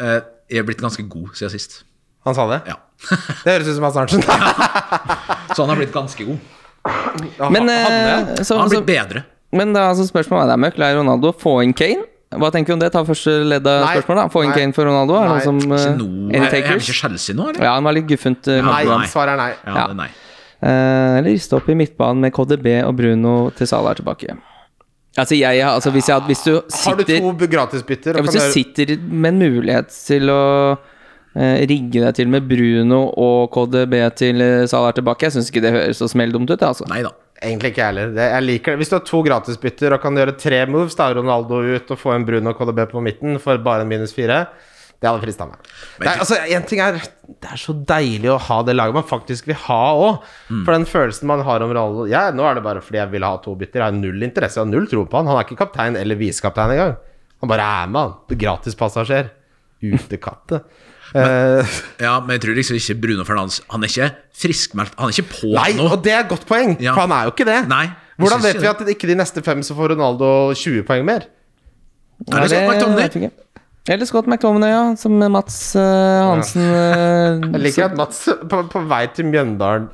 Eh, jeg er blitt ganske god siden sist. Han sa det? Ja. *laughs* Det høres ut som Mads Arntzen. Så han har blitt ganske god. Men, *laughs* Han- eh, han- så, han har så, blitt bedre. men det er altså spørsmålet er det er møkk. Er Ronaldo å få inn Kane? Hva tenker vi om det? Ta første ledd av Nei. spørsmålet. da Få inn Nei. Kane for Ronaldo? Er det Nei. noen som eh, Ikke nå. Any Er, er han takers? ikke Chelsea nå, eller? Ja, han var litt guffent. eh, Ja. Nei, Nei. svaret er nei. Ja, det er nei. Eh, Eller riste opp i midtbanen med KDB og Bruno til Salah er tilbake. Altså, jeg, altså hvis, jeg, hadde- hvis du Har du sitter to bu- gratisbytter? ja, og Hvis du kan gjøre- sitter med en mulighet til å eh, rigge deg til med Bruno og KDB til eh, Salah er tilbake, jeg syns ikke det høres så smelldumt ut, jeg, altså. Nei da. Egentlig ikke jeg heller. Det- Jeg liker det. Hvis du har to gratisbytter og kan gjøre tre moves, da er Ronaldo ut og få en Bruno KDB på midten for bare en minus fire. Det hadde frista meg. Men- Nei, altså, en ting er Det er så deilig å ha det laget man faktisk vil ha òg. Mm. For den følelsen man har om Ronaldo ja, Nå er det bare fordi jeg vil ha to bytter. Jeg har null interesse, jeg har null tro på han. Han er ikke kaptein eller visekaptein engang. Han bare er med, han. Gratispassasjer. Utekatte. Eh, Ja, men jeg tror liksom ikke Bruno Fernandes Han er ikke friskmeldt. Han er ikke på Nei, nå. og det er et godt poeng, Ja. for han er jo ikke det. Nei, jeg Hvordan synes vet ikke vi at ikke de neste fem så får Ronaldo 20 poeng mer? Er det sånn, McTominay? vet jeg ikke. Eller Scott McTominay, ja. Som Mats eh, *laughs* Hansen eh, Jeg liker at Mats *laughs* på, på vei til Mjøndalen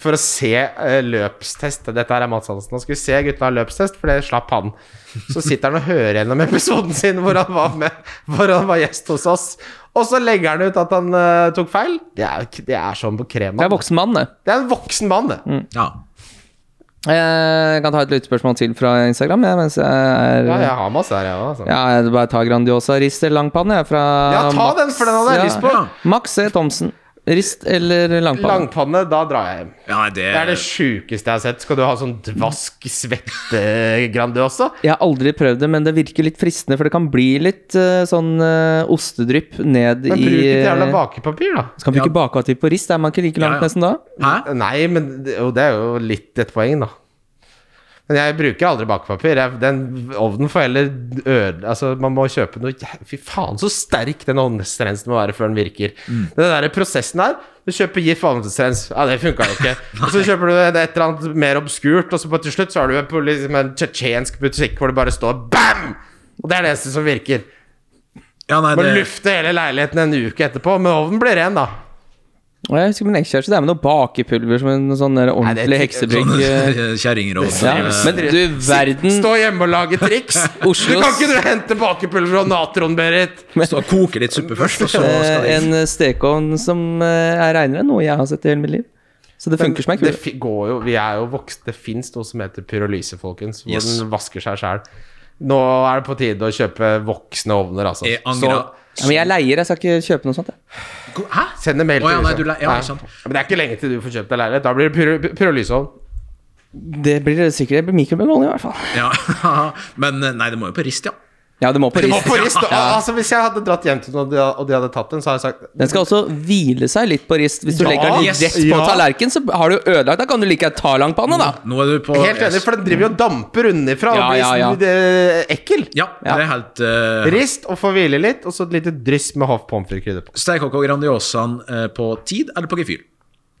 for å se eh, løpstest Dette her er Mats Hansen. Han skulle se gutta ha løpstest, for det slapp han. Så sitter han og hører gjennom episoden sin hvor han var, med, hvor han var gjest hos oss. Og så legger han ut at han eh, tok feil. Det er, jo ikke- det er sånn på krem. Det er mann. voksen Mm. mann, det. Det er en voksen mann, det. Ja. Eh, Jeg kan ta et lyttespørsmål til fra Instagram, jeg, mens jeg er Ja, jeg har masse her, jeg òg. Altså. Ja, jeg bare tar Grandiosa rist eller langpanne, jeg, fra Ja, ta den, for den hadde jeg lyst på. Max E. Thomsen. Rist eller langpanne? Langpanne, da drar jeg hjem. ja det, Det er det sjukeste jeg har sett. Skal du ha sånn dvask svette-Grandiosa? Jeg har aldri prøvd det, men det virker litt fristende, for det kan bli litt eh, sånn eh, ostedrypp ned Men i bruk et jævla eh, bakepapir, da. Så kan vi Ja. ikke bake av til på rist, er man ikke like langt Ja, ja. nesten da? Hæ? Nei, men det, jo, det er jo litt et poeng, da. Men jeg bruker aldri bakepapir. Jeg, den ovnen får heller øde Altså, man må kjøpe noe jæv- Fy faen, så sterk den ovnsrensen må være før den virker. Den der prosessen der Du kjøper GIF ovnsrens. Ja, det funka jo ikke. og så kjøper du et eller annet mer obskurt, og så på til slutt så har du en, på liksom en tsjetsjensk butikk hvor det bare står BAM! Og det er det eneste som virker. Ja, nei, Må det, lufte hele leiligheten en uke etterpå, men ovnen blir ren, da. Og jeg husker min ekskjæreste, det er med noe bakepulver som en sånn der det er sånn- ordentlig ikke- heksebrygg. eh, sånn- *laughs* Kjerringer sånn- og Ja. Men du verden Stå hjemme og lage *laughs* triks. Oslos- Du kan ikke du hente bakepulver og natron, Berit? Stå og koke litt suppe først, sånn- og så eh, skal det En stekeovn som eh, er reinere enn noe jeg har sett i hele mitt liv. Så det funker som ei Det kule. fi- går jo, vi er jo vokst, det fins noe som heter pyrolyse, folkens. Hvor Yes. den vasker seg sjæl. Nå er det på tide å kjøpe voksne ovner, altså. Jeg angrer. Ja, men jeg leier, jeg skal ikke kjøpe noe sånt. Jeg. Hæ? send en mail Å, ja, nei, huset. du le- ja, ikke sant. Men det er ikke lenge til du får kjøpt deg leilighet. Da blir det pyro, pyrolyseovn. Det blir sikkert det blir mikrobølgeovn i hvert fall. Ja, *laughs* men eh, nei, det må jo på rist, ja. Ja, det må på Du må rist. på rist, *laughs* da. Altså, hvis jeg hadde dratt hjem til noen og de- og de hadde tatt den, så hadde jeg sagt Den skal også hvile seg litt på rist. Hvis du Ja, legger den yes, rett på ja. tallerken, så har du ødelagt. Da kan du like gjerne ta langpanne, da. Nå er du på Helt enig, for den driver jo og damper unnifra Ja, og blir ja, ja. sånn, eh, ekkel. Ja, det er helt eh, Rist og få hvile litt, og så et lite dryss med hoff pommes frites-krydder på. Steikokk og Grandiosaen eh, på tid eller på gefühl?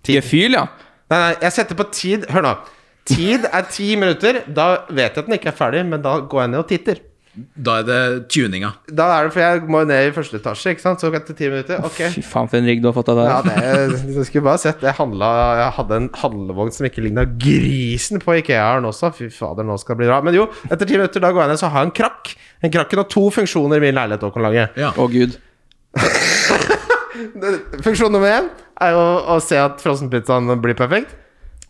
Gefühl, ja. Nei, nei, jeg setter på tid. Hør nå. Tid er ti minutter. Da vet jeg at den ikke er ferdig, men da går jeg ned og titter. Da er det tuninga. Da er det for jeg må jo ned i første etasje, ikke sant. Så etter ti minutter, ok. Fy faen, for en rigg du har fått av Ja, deg. det, du skulle bare sett. Jeg, handla, jeg hadde en handlevogn som ikke ligna grisen på Ikea-en også. Fy fader, nå skal det bli bra. Men jo, etter ti minutter da går jeg ned, så har jeg en krakk. Den krakken har to funksjoner i min leilighet. Håkon Lange. Ja. Å, gud. Funksjon nummer én er jo å se at frossenpizzaen blir perfekt.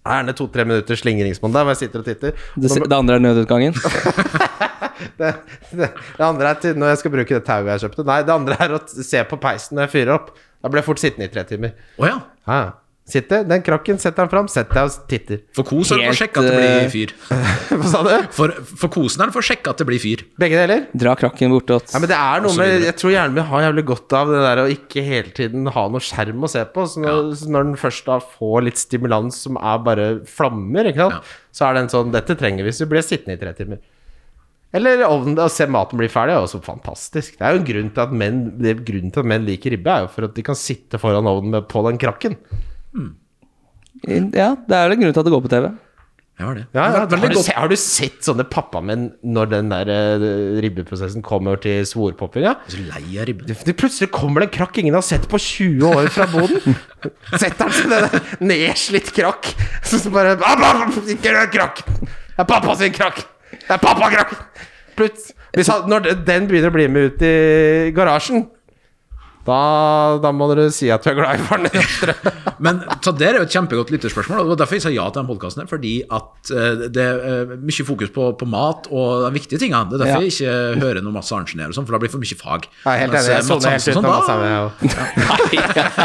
Gjerne to-tre minutter slingringsmonn der hvor jeg sitter og titter. Det, det andre er nødutgangen. *laughs* Det, det, det andre er til når jeg skal bruke det tauet jeg kjøpte. Nei, det andre er å se på peisen når jeg fyrer opp. Da blir jeg fort sittende i tre timer. Å ja. Ja. Sitter, den krakken, setter den fram, setter deg og titter. *laughs* For kosen er det for å Helt, sjekke at det blir fyr. Hva sa du? For, for kosen er det for å sjekke at det blir fyr. Begge deler? Dra krakken bortåt. Ja, men det er noe med Jeg tror hjernen min har jævlig godt av det der å ikke hele tiden ha noe skjerm å se på. Så når, så når den først da får litt stimulans som er bare flammer, ikke sant? Ja. så er den sånn Dette trenger vi, så blir jeg sittende i tre timer. Eller ovnen, å se maten bli ferdig er jo også fantastisk. Det er jo en grunn til at menn, det er grunnen til at menn liker ribbe, er jo for at de kan sitte foran ovnen med, på den krakken. Ja, det er en grunn til at det går på TV. Jeg har det. Ja, Det ja, har vært har, veldig du godt. se, har du sett sånne pappamenn når den der eh, ribbeprosessen kommer til svorpoppinga? Jeg er så lei av ribbe. Det, det plutselig kommer det en krakk ingen har sett på 20 år fra *laughs* boden. Setter han seg ned, nedslitt krakk. Så så bare «Ah, bah, bah, Ikke rør krakk! Det er pappa sin krakk! Det er pappakrakk! Plutselig hvis han, Når den- den begynner å bli med ut i garasjen, da, da må dere si at du er glad i faren din. Men så det er jo et kjempegodt lytterspørsmål, og det var derfor jeg sa ja til den podkasten. Fordi at eh, det er mye fokus på, på mat og de viktige tingene. Det er Ja. derfor jeg ikke hører noe Mads Arntzen her, og sånn, for da blir det for mye fag. Jeg er helt Mens, enig. eh, Jeg Mads sovner helt Arntzen ut og av sånn, Mads da- Arntzen,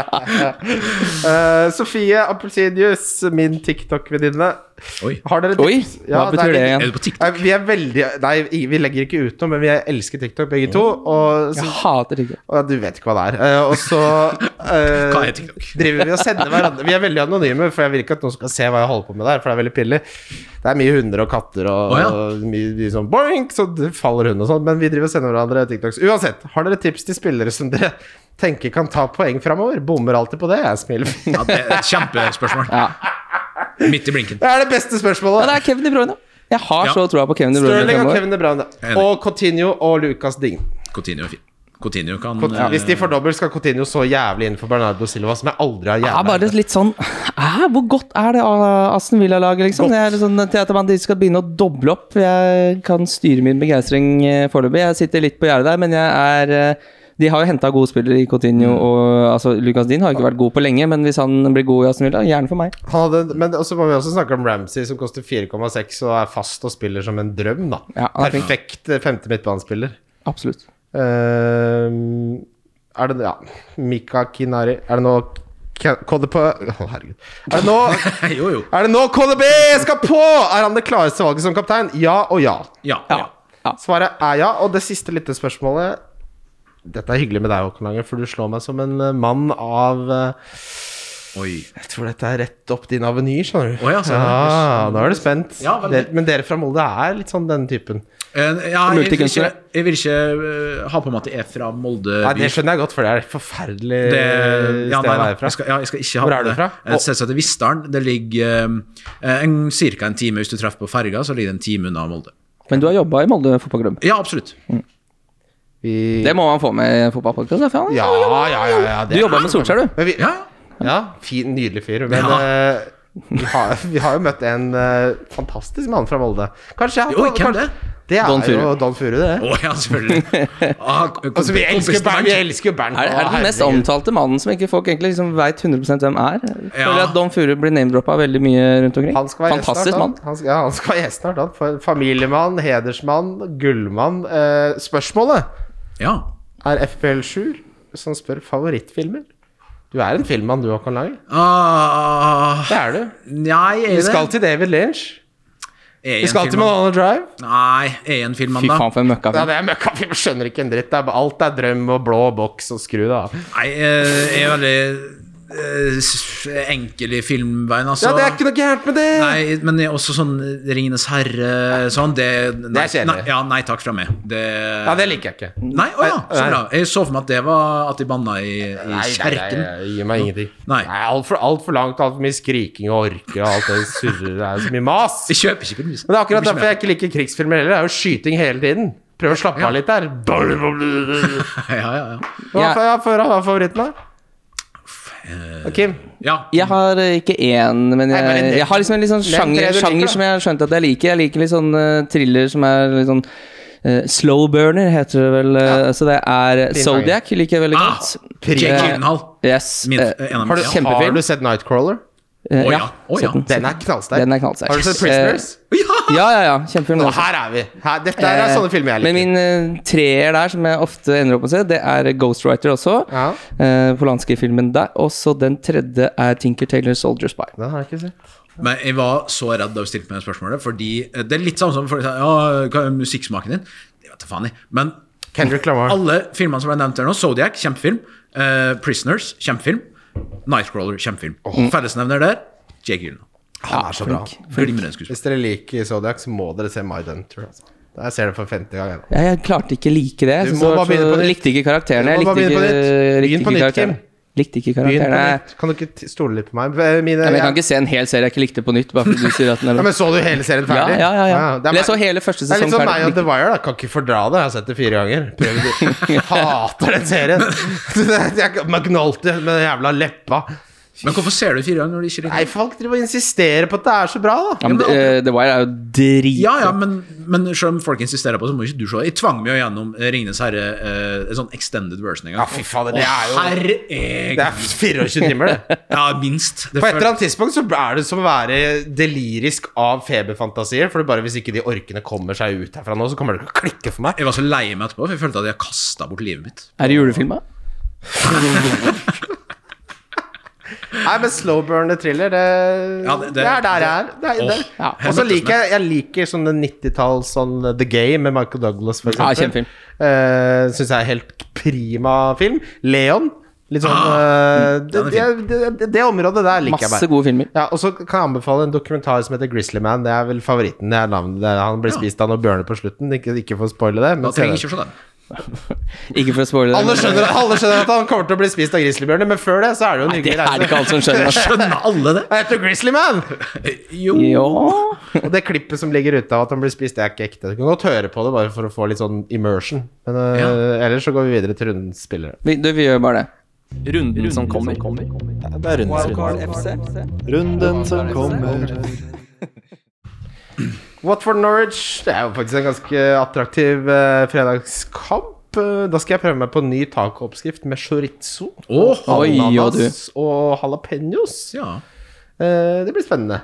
jeg òg. Eh, Sofie Appelsinius, min TikTok-venninne. Oi. Har dere Oi, tips? hva er betyr det litt- Er igjen? du på TikTok? Nei, vi er veldig Nei, vi legger ikke ut noe, men vi elsker TikTok begge to. Mm. Og, så, *laughs* Jeg hater ikke. og du vet ikke hva det er. Eh, Og så *laughs* eh, Hva er TikTok? driver vi og sender hverandre Vi er veldig anonyme, for jeg vil ikke at noen skal se hva jeg holder på med der, for det er veldig pinlig. Det er mye hunder og katter og, Å, ja. og mye, mye sånn boink, så det faller hund og sånn, men vi driver og sender hverandre TikToks. Uansett, har dere tips til spillere som dere tenker kan ta poeng framover? Bommer alltid på det, jeg smiler. Ja, det er et kjempespørsmål. Midt i blinken. *laughs* Det er det beste spørsmålet. Ja, det er Kevin De Bruyne. Jeg har Ja. så troa på Kevin De Bruyne. Sterling og fremover. Kevin De Bruyne. Enig. Og Coutinho og Lucas Ding. Coutinho er fin. Coutinho kan Coutinho- eh, Hvis de får dobbelt, skal Coutinho så jævlig innenfor Bernardo Silva, som jeg aldri har Ja, jævla bare litt sånn Hæ, Hvor godt er det ah, Aston Villa-laget, liksom? Godt. Jeg er litt sånn til at man skal begynne å doble opp. Jeg kan styre min begeistring eh, foreløpig. Jeg sitter litt på gjerdet der, men jeg er eh, De har jo henta gode spillere i Mm. Coutinho og altså, Lucas Dean har jo ikke vært god på lenge, men hvis han blir god i Aston Villa, gjerne for meg. Han hadde, men også må vi også snakke om Ramsey, som koster 4,6 og er fast og spiller som en drøm, da. Ja, han er flink. Perfekt eh, femte midtbanespiller. Absolutt. Ehm, er det Ja. Mika Kinari Er det nå K- KDP Å, herregud. Er det nå *laughs* *laughs* Jo, jo. Er det nå KDB skal på?! Er han det klareste valget som kaptein? Ja og ja. Ja. Ja. ja. ja. Svaret er ja, og det siste lille spørsmålet Dette er hyggelig med deg, Håkon Lange, for du slår meg som en eh, mann av eh, Oi. Jeg tror dette er rett opp din avenir, skjønner du. Å ja, så- ja, nå er du spent. Ja, veldig. Dere- men dere fra Molde er litt sånn den typen. Eh, ja, jeg, vil ikke, Multikunstnere. jeg vil ikke eh, ha på meg at det er fra Molde Nei, by. Det skjønner jeg godt, for det er et forferdelig Det, ja, sted nei, å nei, være fra. jeg skal, ja, jeg skal ikke ha Hvor er du fra? Det. Eh, Jeg setter seg til Vistaren. Det ligger eh, en, cirka en time Hvis du treffer på ferga, så ligger det en time unna Molde. Men du har jobba i Molde fotballklubb. Ja, absolutt. Vi... Det må man få med i en fotballpodkast. da, faen. Ja, ja, ja. ja Du det jobba med Solskjær, du. Men vi, Ja, Ja, fin, nydelig fyr. Men Ja. eh, vi, har, vi har jo møtt en eh, fantastisk mann fra Molde. Kanskje jeg Oi, hvem kanskje- det? Det er Don jo Furu. Don Furu, det. Å ja, selvfølgelig. Ah, kom- *laughs* Altså, vi elsker jo kompisen Bernt. Bernt. Vi elsker jo Bernt. Er, er det den mest Herregud. omtalte mannen som ikke folk egentlig liksom veit 100 hvem er? Jeg Føler Ja. at Don Furu blir namedroppa veldig mye rundt omkring. Han skal være gjest Fantastisk snart, han. mann. Han skal, ja, han skal være gjest snart. Han. For- Familiemann, hedersmann, gullmann. Eh, spørsmålet Ja. er FPL7, som spør favorittfilmer. Du er en filmmann, du, Håkon Lange. Ah, Det er du. nei, er Vi det skal til David Lynch. Er jeg Vi en skal til filmmann? Manana Drive. Nei, er jeg en filmmann, Fy da? faen, for en Ja, møkkafilm. det er møkkafilm. Skjønner ikke en dritt. Det er, bare- alt er drøm og blå boks og skru det av. Nei, eh, jeg er veldig eh, s- enkel i filmveien, altså. Ja, det er ikke noe gærent med det! Nei, men jeg er også sånn Ringenes herre sånn, det nei, Det er kjedelig. nei, ja, nei takk fra meg. Det Ja, det liker jeg ikke. Nei, Nei, å ja, så Nei. bra. Jeg så for meg at det var at de banna i, i kjerken. nei, gir meg ingenting. Nei. Altfor alt for langt, altfor mye skriking og orke og alt det surrer. Det er så mye mas. Jeg kjøper ikke premissen. Men det er akkurat Jeg blir ikke derfor jeg ikke liker krigsfilmer heller. Det er jo skyting hele tiden. Prøv å slappe av litt der. Hva med. *laughs* Ja, ja, ja. Ja. ja. eh. får jeg favoritten, da? Kim? ja. Jeg har eh, ikke én, men Nei, bare jeg, nevn- jeg har liksom en litt sånn nevn sjanger, tre du liker, da. sjanger som jeg har skjønt at jeg liker. Jeg liker litt sånn eh, thriller som er litt sånn eh, Slow Burner heter det vel. eh, Så det er Fin Zodiac liker jeg veldig Ah, godt. Jake Eh, Gyllenhaal. *laughs* Yes. Min- eh, en av Har kjempe- du, mine. Ja. Kjempefilm. har du sett Nightcrawler? eh, Å ja, ja. å ja. sett den, sett Den er knallsterk. Den er knallsterk. Har du sett Prisoners? Eh, ja, ja, ja. Kjempefilm. Nå, også. her er vi! Her, dette her er Eh, sånne filmer jeg liker. Men min eh, treer der, som jeg ofte ender opp med å se, det er Ghostwriter også. Ja. Eh, polanske filmen der. Og så den tredje er Tinker Taylor Soldier Spy. Den har jeg ikke sett. Men jeg var så redd da du stilte meg det spørsmålet, fordi eh, det er litt sånn som folk sier Ja, hva er musikksmaken din? Det vet jeg faen i. Men Kendrick Lamar. alle filmene som ble nevnt her nå, Zodiac, kjempefilm. eh, Prisoners, kjempefilm. Nightcrawler, kjempefilm. Fellesnevner der, Jake Gyllenhaal. Han er så bra. flink. Glimrende skuespiller. Hvis dere liker Zodiac, så må dere se My Dunter. Altså. Jeg ser det for femte gang. jeg nå. Jeg, jeg klarte ikke like det. Du Jeg, må så, bare begynne på så, nytt. likte ikke Du karakterene. må Jeg bare likte ikke, begynne på nytt. likte Begynn på ikke nytt, Kim. karakterene. Likte ikke Begynn på karakterene. nytt. Kan du ikke t- stole litt på meg? Eh, Mine, Ja, men jeg kan ja, ikke se en hel serie jeg ikke likte på nytt. Bare fordi du sier at den er men Så du hele serien Ja, ferdig? ja, ja, ja. det er Men jeg så meg- hele første Det er sesong litt sånn meg og ferdig. The Wire, da. Kan ikke fordra det. Jeg har sett det fire ganger. *laughs* Prøver det. Hater den serien. *laughs* Jeg- McNulty med den jævla leppa. Men hvorfor ser du fire ganger når de ikke Nei, liker det? folk driver og insisterer på at det er så bra, da. Ja, men, eh, The Wire er jo drit... Ja, ja, men, men selv om folk insisterer på det, så må ikke du se det. Jeg tvang meg jo gjennom eh, Ringenes herre, eh, en sånn extended version en gang. Ja, fy fader, det er jo- Herre Det er 24 timer, det. Ja, minst. Det På et føl- eller annet tidspunkt så er det som å være delirisk av feberfantasier. For det er bare hvis ikke de orkene kommer seg ut herfra nå, så kommer det til å klikke for meg. Jeg var så lei meg etterpå, for jeg følte at jeg kasta bort livet mitt. Er det julefilm, da? Nei, men slowburn thriller, det, Ja, det, det- det- er der jeg er. Det er- det er- Åh, ja. her Og så møttes liker jeg, jeg liker sånn 90-talls sånn The Game med Michael Douglas, for Ja, kjempefilm. eksempel. Eh, Syns jeg er helt prima film. Leon. Litt sånn eh, det, Ah, den er det, det, det området der liker jeg Masse bare. gode filmer. Ja, og så kan jeg anbefale en dokumentar som heter Grizzly Man. Det er vel favoritten. Det er navnet det er. Han blir spist av noen bjørner på slutten. Ikke, ikke for å spoile det. Da Men se trenger jeg det. ikke å se den. Ikke for å spoile det. alle, skjønner, alle skjønner at han kommer til å bli spist av grizzlybjørner, men før det så er det jo en Nei, *laughs* det hyggelig er det ikke reise. alle som *laughs* skjønner. ass. Skjønner alle det? Eh, Han heter Grizzly Man! Jo. Jo. Og det klippet som ligger ute av at han blir spist, det er ikke ekte. Du kan godt høre på det, bare for å få litt sånn immersion. Men øh, ellers så går vi videre til rundens spillere. Vi, du, vi gjør bare det. Runden som kommer. Det er rundens runde. Runden som kommer. Watford Norwich Det er jo faktisk en ganske attraktiv eh, fredagskamp. Eh, Da skal jeg prøve meg på en ny tacooppskrift med chorizo. Åh, Oi, og du. Ananas og jalapeños. ja. Eh, det blir spennende.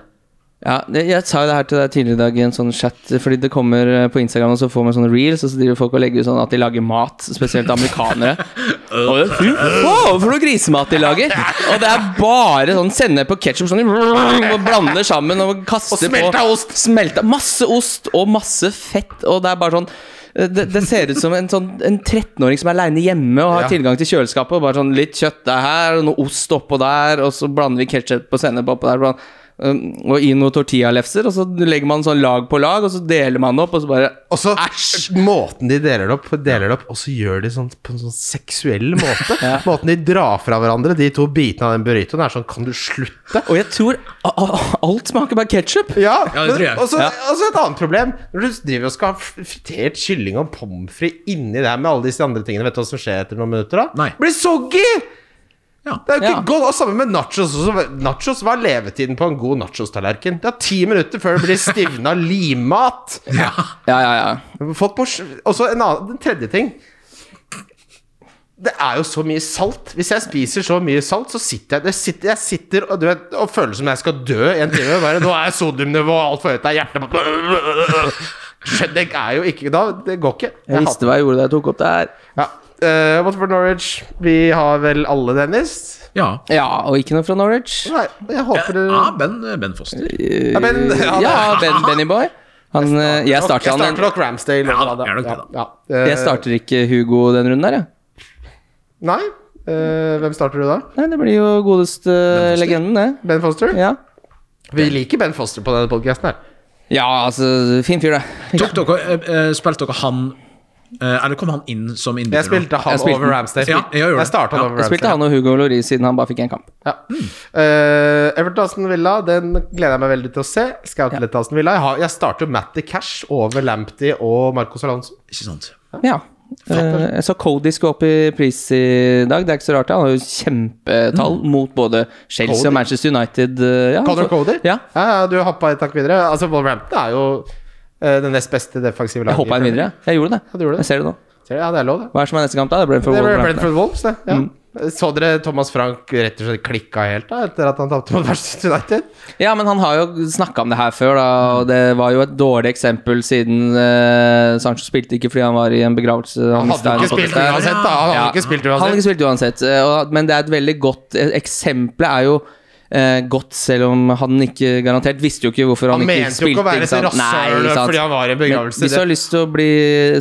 Ja, det- jeg sa jo det her til deg tidligere i dag i en sånn chat, fordi det kommer eh, på Instagram, og så får man sånne reels, og så driver folk og legger ut sånn at de lager mat, spesielt amerikanere. og det er fy faen for noe grisemat de lager! Og det er bare sånn sennep og ketsjup sånn og blander sammen og kaster Og smelta på ost. Smelta Masse ost og masse fett, og det er bare sånn eh, det, det ser ut som en, sånn, en 13-åring som er aleine hjemme og har Ja. tilgang til kjøleskapet. Og bare sånn Litt kjøtt er her, og noe ost oppå der, og så blander vi ketsjup og sennep oppå der. blant- um, Og i noen tortillalefser, og så legger man sånn lag på lag, og så deler man det opp, og så bare Og så måten de deler det opp, deler det opp og så gjør de sånn på en sånn seksuell måte. Måten de drar fra hverandre, de to bitene av den burritoen, er sånn Kan du slutte? Og jeg tror a- a- alt smaker bare ketsjup. *laughs* Ja, Ja, det tror jeg. Og så Ja. og så et annet problem. Når du driver og skal ha f- fritert kylling og pommes frites inni det her med alle disse andre tingene, vet du hva som skjer etter noen minutter? da? Nei. Blir soggy! Ja. Det er jo ikke Ja. godt. Og sammen med nachos. Også. Nachos var levetiden på en god nachostallerken. Det er ti minutter før det blir stivna limmat. Ja, ja, ja. Folk må sj- Og så en annen Den tredje ting Det er jo så mye salt Hvis jeg spiser så mye salt Så sitter jeg Jeg sitter, jeg sitter og, du vet, og føler som jeg skal dø i en time bare, Nå er sodiumnivået alt for høyt Det er hjertet bare- Skjønner, Det er jo ikke da, Det går ikke Jeg visste hva jeg gjorde da jeg tok opp det her. ja. Eh, Watford Norwich Vi har vel alle Dennis ja. Ja, og ikke noe fra Norwich. Nei, jeg håper dere Ja, ben, ben Foster. Ja, men- ja, Ja, ben, Benny Boy. Han, eh, jeg starter Jeg starter han nok Ramsdale Ja, det er nok det, ja, ja. Eh, Jeg starter ikke Hugo den runden der, jeg. Nei Eh, Hvem starter du da? Nei, det blir jo godeste legenden, det. Ben Foster? Ja. Vi liker Ben Foster på denne podcasten her ja, altså Fin fyr, det. Tok dere, eh, eh, spilte dere han eh, Eller kom han inn som Jeg innbytter? spilte han Jeg spilte over den. Ramsdale. Ja, jeg gjorde det. starta Ja, over Jeg spilte Ramsdale. han Mm. og Hugo Loris siden han bare fikk én kamp. Ja. Eh, Everton Aston Villa, den gleder jeg meg veldig til å se. Scoutlet Aston Villa. Jeg, har, jeg starter jo Matty Cash over Lamptey og Marcos Alonso. Ikke sant? Ja. Eh, Jeg så Cody skulle opp i pris i dag. Det er ikke så rart. det. Han har jo kjempetall mot både Chelsea Cody. og Manchester United. eh, Ja, Connor Så- Cody? Ja. ja, du hoppa et takk videre. Altså, Wolverhampton er jo eh, det nest beste defensive laget. Jeg hoppa inn videre. jeg. Jeg gjorde det. Ja, du gjorde Jeg det. ser det nå. Ja, det er lov, det. Hva er det som er neste kamp, da? Det ble for Det ble Wolverhampton. Mm. Brentford Wolves, det. Ja. Så dere Thomas Frank rett og slett klikka helt da etter at han tapte mot Manchester United? Ja, men han har jo snakka om det her før, da, og det var jo et dårlig eksempel siden eh, Sancho spilte ikke fordi han var i en begravelse. Han hadde mistet jo en ikke spilt fotballspiller. uansett, da! Han hadde Ja. jo ikke spilt Han hadde uansett. ikke spilt uansett, eh, og, men det er et veldig godt eh, Eksempelet er jo eh, godt, selv om han ikke garantert visste jo ikke hvorfor han, Han ikke mente jo spilte. ikke å være et sant? Nei, rasshøl ikke sant? fordi han var i en Men begravelse. Hvis du har Det- lyst til å bli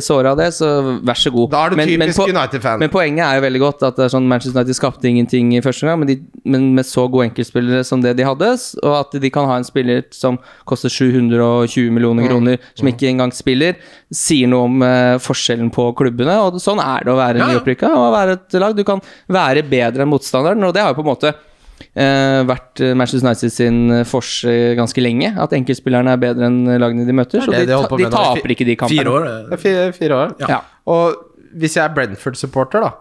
såra av det, så vær så god. Da er du Men- men typisk på- United-fan. Men poenget er jo veldig godt at det er sånn Manchester United skapte ingenting i første omgang, men, de- men med så gode enkeltspillere som det de hadde, s- og at de kan ha en spiller som koster 720 Mm. millioner kroner, som ikke engang spiller, sier noe om eh, forskjellen på klubbene. Og sånn er det å være Ja, ja. nyopprykka og å være et lag. Du kan være bedre enn motstanderen, og det har jo på en måte eh, vært eh, Manchester United sin eh, forse ganske lenge. At enkeltspillerne er bedre enn lagene de møter. Så det de, de holder på ta, de med nå. taper ikke de kampene. Fire år. Det eh. er fire, fire år. Ja. Og hvis jeg er Brentford-supporter, da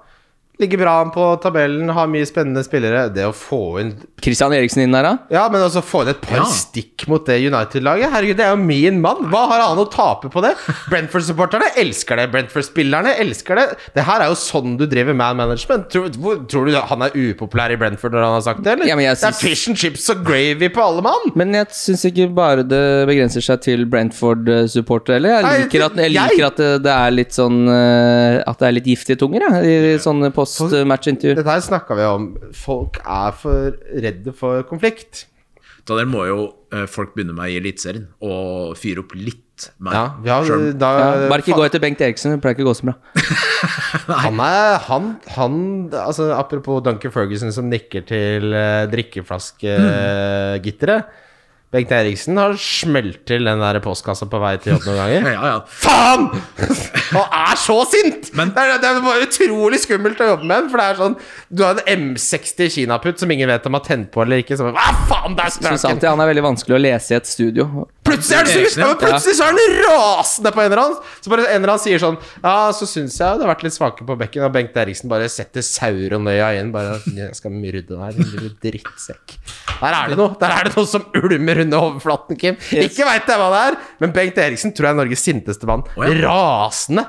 Ligger bra an på tabellen, har mye spennende spillere. Det å få inn Christian Eriksen inn der, da? Ja, men også få inn et par Ja. stikk mot det United-laget. Herregud, det er jo min mann! Hva har han å tape på det? Brentford-supporterne elsker det. Brentford-spillerne elsker det. Det her er jo sånn du driver man management. Tror, hvor, tror du han er upopulær i Brentford når han har sagt det, eller? Ja, men jeg Det er synes- fish and chips og gravy på alle mann! Men jeg syns ikke bare det begrenser seg til Brentford-supporter heller. Jeg Nei, liker at, jeg jeg- liker at det, det er litt sånn eh, At det er litt giftige tunger, jeg, i sånn sånne post-match-intervjuer. Dette her snakka vi om. Folk er for redde for konflikt. Da der må jo eh, folk begynne med i Eliteserien og fyre opp litt mer. Ja, vi har, Selv om- da, Ja, bare ikke gå etter Bengt Eriksen, det pleier ikke å gå så bra. Han er han, han altså, Apropos Duncan Ferguson som nikker til uh, drikkeflaskegitteret. Bengt Eriksen har smelt til den der postkassa på vei til jobb noen *laughs* ganger. Ja, ja. Faen! Han er så sint! Men- det, er, det er bare utrolig skummelt å jobbe med ham. For det er sånn Du har en M60 kinaputt som ingen vet om har tent på eller ikke. Så, bare, Hva faen, der Jeg strøk synes alltid den! han er veldig vanskelig å lese i et studio. Plutselig er han sur! Eriksen, Ja, ja. men plutselig så er han rasende på en eller annen. Så bare en eller annen sier sånn Ja, så syns jeg det har vært litt svake på bekken. Og Bengt Eriksen bare setter sauronøya inn. Bare Jeg skal myrde deg, din lille drittsekk. Der er det noe Der er det noe som ulmer under overflaten, Kim. Ikke veit jeg hva det er, men Bengt Eriksen tror jeg er Norges sinteste mann. Å, ja. Rasende.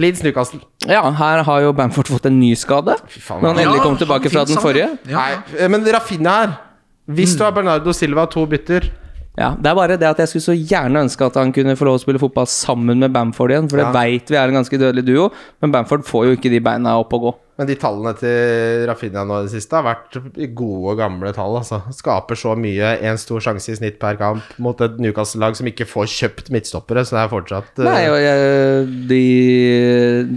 Leeds Newcastle. Ja, her har jo Bamford fått en ny skade. faen, Når han Ja, endelig kom tilbake fra fint den sagt. forrige. Ja, Mm. ja. Nei, eh, men Rafinha her. Hvis du har Bernardo Silva, to bytter Ja, Det er bare det at jeg skulle så gjerne ønske at han kunne få lov å spille fotball sammen med Bamford igjen, for det Ja. vet vi er en ganske dødelig duo, men Bamford får jo ikke de beina opp og gå. Men de tallene til Rafinha nå i det siste har vært gode, gamle tall. altså. Skaper så mye, én stor sjanse i snitt per kamp mot et Newcastle-lag som ikke får kjøpt midtstoppere, så det er fortsatt eh, Nei, og jeg, de,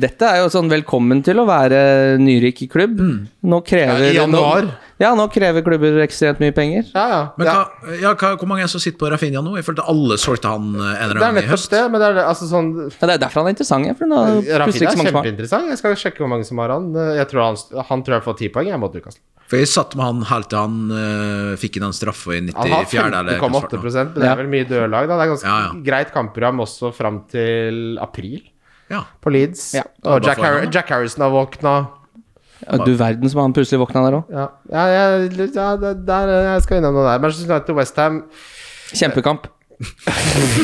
dette er jo sånn velkommen til å være nyrik i klubb. Nå krever Mm. Ja, i januar. Nå, ja, nå krever klubber ekstremt mye penger. Ja, ja. Men ja. hva, ja, hva, hvor mange er det som sitter på Rafinha nå? Jeg følte alle solgte han eh, en Det eller er annen gang i nettopp høst. det, men det er det- altså sånn Ja, det er derfor han er interessant. ja, For nå, er det Rafinha plutselig ikke er så mange som har. kjempeinteressant. Jeg skal sjekke hvor mange som har han. Jeg tror han, han tror jeg får ti poeng jeg mot Newcastle. For jeg satt med han helt til han eh, fikk inn den straffa i 94. Han har eller hva det 15,8 var. men det er vel mye dørlag, da. Det er ganske Ja, ja. greit kampprogram også fram til april Ja. på Leeds. Ja. Og Jack, Bare for Har han, da. Jack Harrison har våkna. Ja, du verden som han plutselig våkna der òg. Ja, ja, jeg- ja der, der, jeg skal innom noe der. Manchester United Westham Kjempekamp.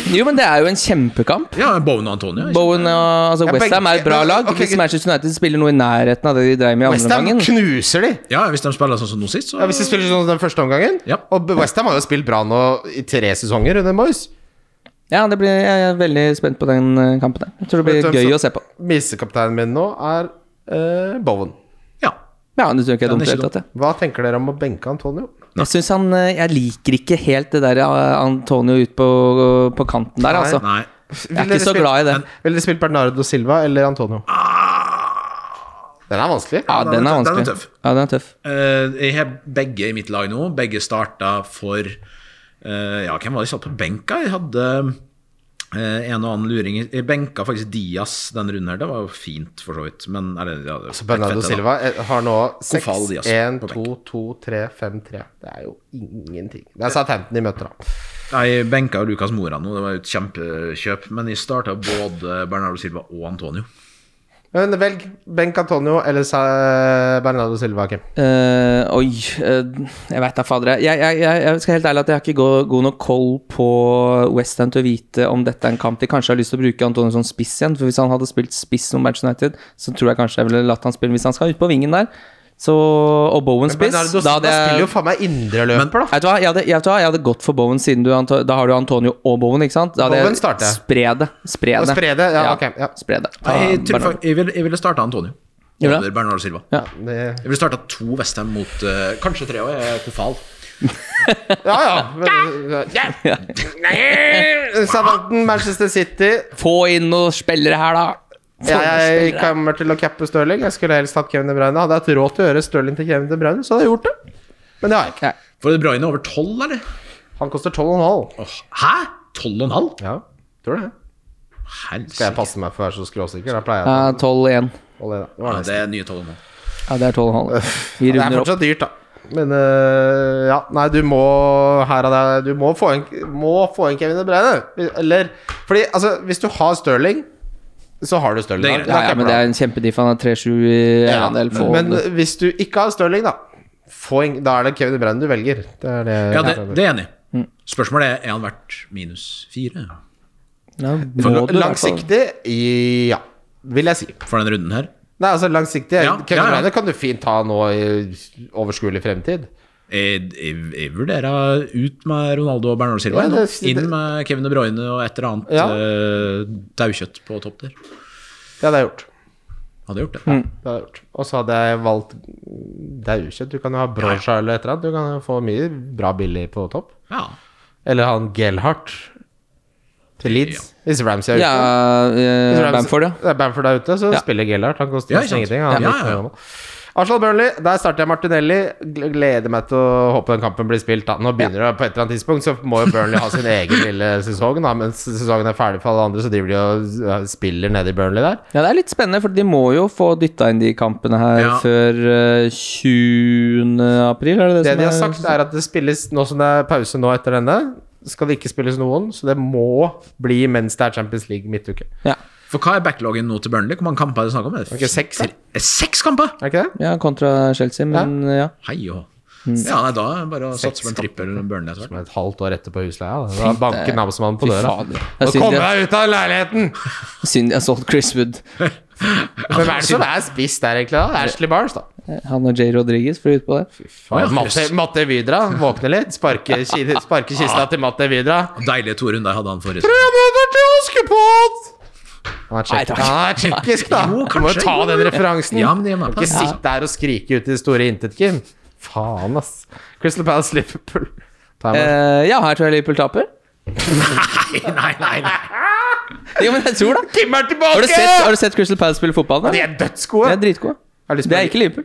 jo, men det er jo en kjempekamp. ja, Bowen og Antonio. ikke? Bowen og altså, Ja, Westham er et bra begge- lag. Ok, Hvis gutt- Manchester United spiller noe i nærheten av det de dreiv med i andre Westham omgangen knuser de! Ja, hvis de spiller sånn som nå sist, så Ja, hvis de spiller sånn som den første omgangen. Ja. Og Westham har jo spilt bra nå i tre sesonger under Moyes. Ja, det blir, jeg er veldig spent på den eh, kampen der. Jeg tror det Vet du blir hvem gøy å som- se på. Visekapteinen min nå er eh, Bowen. Ja. Ja, det tror jeg ikke er dumt. Den er i det ikke hele tatt, dum. ja. Hva tenker dere om å benke Antonio? Jeg synes han eh, Jeg liker ikke helt det der eh, Antonio ut på, på kanten der, Nei, altså. Nei. Jeg er ikke så glad i det. Ville dere spilt Bernardo Silva eller Antonio? Den er vanskelig. Ja, den Ah. er den er tøff, den er vanskelig. tøff. Ja, den er tøff. Eh, jeg har begge i mitt lag nå. Begge starta for eh, Ja, hvem var det jeg satt på benka? Jeg hadde eh, en og annen luring. Jeg benka faktisk Diaz denne runden her. Det var jo fint, for så vidt. Men er det, ja, det er Så Bernardo fett, det, da. Silva eh, har nå 6, Kofal, de, altså, 1, på 2, 2, 3, 5, 3. Det er jo ingenting. Det er Southampton de møter, da. Jeg benka jo Lucas Mora nå, det var jo et kjempekjøp. Men jeg starta både Bernardo Silva og Antonio. Men Eh, velg Benk Antonio eller Sa- Bernardo Silva. Kim. Eh, oi eh, Jeg veit da fader. Jeg, jeg, jeg, jeg skal helt ærlig at jeg har ikke god, god nok koll på Westham til å vite om dette er en kamp de kanskje har lyst til å bruke Antonio som spiss igjen. For hvis han hadde spilt spiss som Manchester United, så tror jeg kanskje jeg ville latt han spille hvis han skal ut på vingen der. Så, og Bowen spiss. da Bernardo Silva hadde jeg- spiller jo faen meg indreløper, da. Vet du hva, jeg hadde, jeg, vet du hva? jeg hadde gått for Bowen, siden du Anto da har du Antonio og Bowen, ikke sant? Da hadde Bowen jeg starter. Spre det. Spre Og det. spre det, ja, ok, ja. Spre det. Nei, jeg, Ah, tror Bernardo. fak- jeg, ville, jeg ville starta Antonio. Gjør Over det? Bernardo Silva. Det- Jeg ville starta to Westham mot eh, kanskje tre òg, Kofal. Ja, ja. Men, ja. Nei. Southampton, Manchester City. Få inn noen spillere her, da! Få inn noen Jeg spillere. kommer til å cappe Stirling. Jeg skulle helst hatt Kevin De Bruyne. Hadde jeg hatt råd til å gjøre Stirling til Kevin De Bruyne, så hadde jeg gjort det. Men det har jeg ikke. Får du Bruyne over tolv, eller? Han koster 12,5. Åh, hæ? Tolv og en halv? Ja, tror det. Skal jeg Helsike. passe meg for å være så skråsikker? Da pleier Ja, jeg 12-1. å holde det. Det Ja, var nesten. det er nye tolv og en halv. Ja, det er 12,5. Vi Det er runder opp. fortsatt dyrt, da. Men øh, ja, nei, du må her og der Du må få en, må få en Kevin De Bruyne. Eller Fordi altså, hvis du har Stirling, så har du Stirling. Det er greit. Da- da Ja, ja, capper men du det er han. en kjempediff. Han har 3-7 i Ja, eiendel. Få men det. hvis du ikke har Stirling, da få en, Da er det Kevin De Bruyne du velger. Det er det, Mm. Ja, det, det er jeg enig. i. Spørsmålet er er han verdt minus fire Ja, for må du, i hvert fall. Langsiktig, ja. Vil jeg si. for denne runden her? Nei, altså langsiktig Ja, Kevin ja, ja. De Bruyne kan du fint ta nå i overskuelig fremtid. Jeg, jeg, jeg vurderer ut med Ronaldo og Bernardo Silva. Ja, nå. det- Inn med Kevin De Bruyne og et eller annet Ja. eh, daukjøtt på topp der. Det hadde jeg gjort. Hadde gjort det. Det hadde jeg gjort. Og så hadde jeg valgt daukjøtt. Du kan jo ha brosja eller et eller annet. Du kan jo få mye bra billig på topp. Ja. Eller han Gelhardt til Leeds. Hvis Ramsey er ute. Ja, eh, Hvis Ramsey- Bamford, ja. Det er Bamford er ute, så Ja. spiller Gellert. Han koster Ja, nesten ikke sant? ingenting. Han er Ja, 19 ja, ja. år gammel. Arsenal Burnley, der starter jeg Martinelli. Gl- Gleder meg til å håpe den kampen blir spilt. Da. Nå begynner det på et eller annet tidspunkt, så må jo Burnley ha sin egen lille sesong. Da. Mens sesongen er ferdig for alle andre, så driver de og ja, spiller nede i Burnley der. Ja, det er litt spennende, for de må jo få dytta inn de kampene her Ja. før eh, 20. april, er det det, Det som de er har sagt, er at det spilles nå som det er pause nå etter denne. Skal det ikke spilles noen, så det må bli mens det er Champions League midtuke. Ja, For hva er backloggen nå til Burnley? Hvor mange kamper er det snakk om? Er det Ok, seks, da? fire- er det seks kamper?! Er det ikke det? ja kontra Chelsea, men ja. Hei og Ja, nei, da er det bare å Mm. Seks satse på en trippel Burnley etter hvert. Som er et halvt år etterpå husleia. Da, da banker namsmannen på Fy døra. fader. Det Nå er synd kommer jeg, jeg ut av leiligheten! synd jeg solgte Chris Wood. Hvem er det som er spiss der, egentlig? da? Det er Ashley Barnes, da. Han og Jay Rodriguez flyr ut på det. Å, ja. Matte, Matte Vidra våkner litt, sparker, ki- sparker kista til Matte Vidra. Deilige to runder hadde han forrige sesong. Han er til Askepott! Han Nei, er tsjekk- takk. han er tsjekkisk, da. Jo, Du må jo kanskje. ta Jo, den jo. referansen. Ja, men det er med Kan på ikke det. sitte der og skrike ut i det store intet, Kim. Faen, ass. Crystal Palace Liverpool. Ta meg. Eh, ja, her tror jeg Liverpool taper. Nei, nei, nei. Jo, men jeg tror det. Kim er tilbake! Har du sett, har du sett Crystal Palace spille fotball? De Der? er dødsgode. De er dritgode. Har du lyst på Det er en- ikke Liverpool.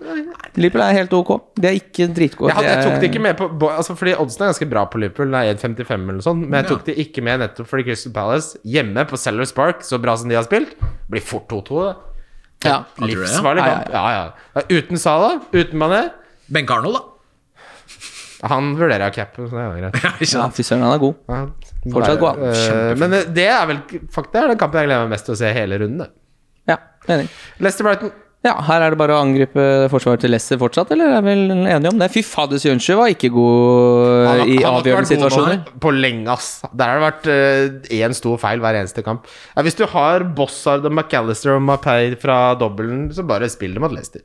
Liverpool er helt ok. De er ikke dritgode. Jeg, hadde, jeg De er- tok det ikke med på bo- Eh. altså Fordi oddsen er ganske bra på Liverpool, det er 1,55 eller noe sånt, men jeg Ja. tok det ikke med nettopp fordi Crystal Palace hjemme på Sellers Park, så bra som de har spilt, blir fort 2-2. det. ja. tror du det? Livsfarlig Ja, kamp. Ja, ja. Ja, Uten Salah, uten Mané. Benke Arnold, da. *laughs* Han vurderer jeg å cappe, så det er jo greit. Ja, ikke ja, sant? fy søren, han er god. Ja. Fortsatt god, han. Eh, men det er vel faktisk det er den kampen jeg gleder meg mest til å se hele runden. det. Ja, enig. Leicester Brighton. Ja, her er det bare å angripe forsvaret til Leicester fortsatt, eller er vi vel enige om det? Fy fader, Sjønsjø var ikke god Han Eh, i har- han har ikke avgjørende vært god situasjoner. nå På lenge, ass. Der har det vært én stor feil hver eneste kamp. Ja, hvis du har Bossard og McAllister og Mapei fra dobbelen, så bare spill dem mot Leicester.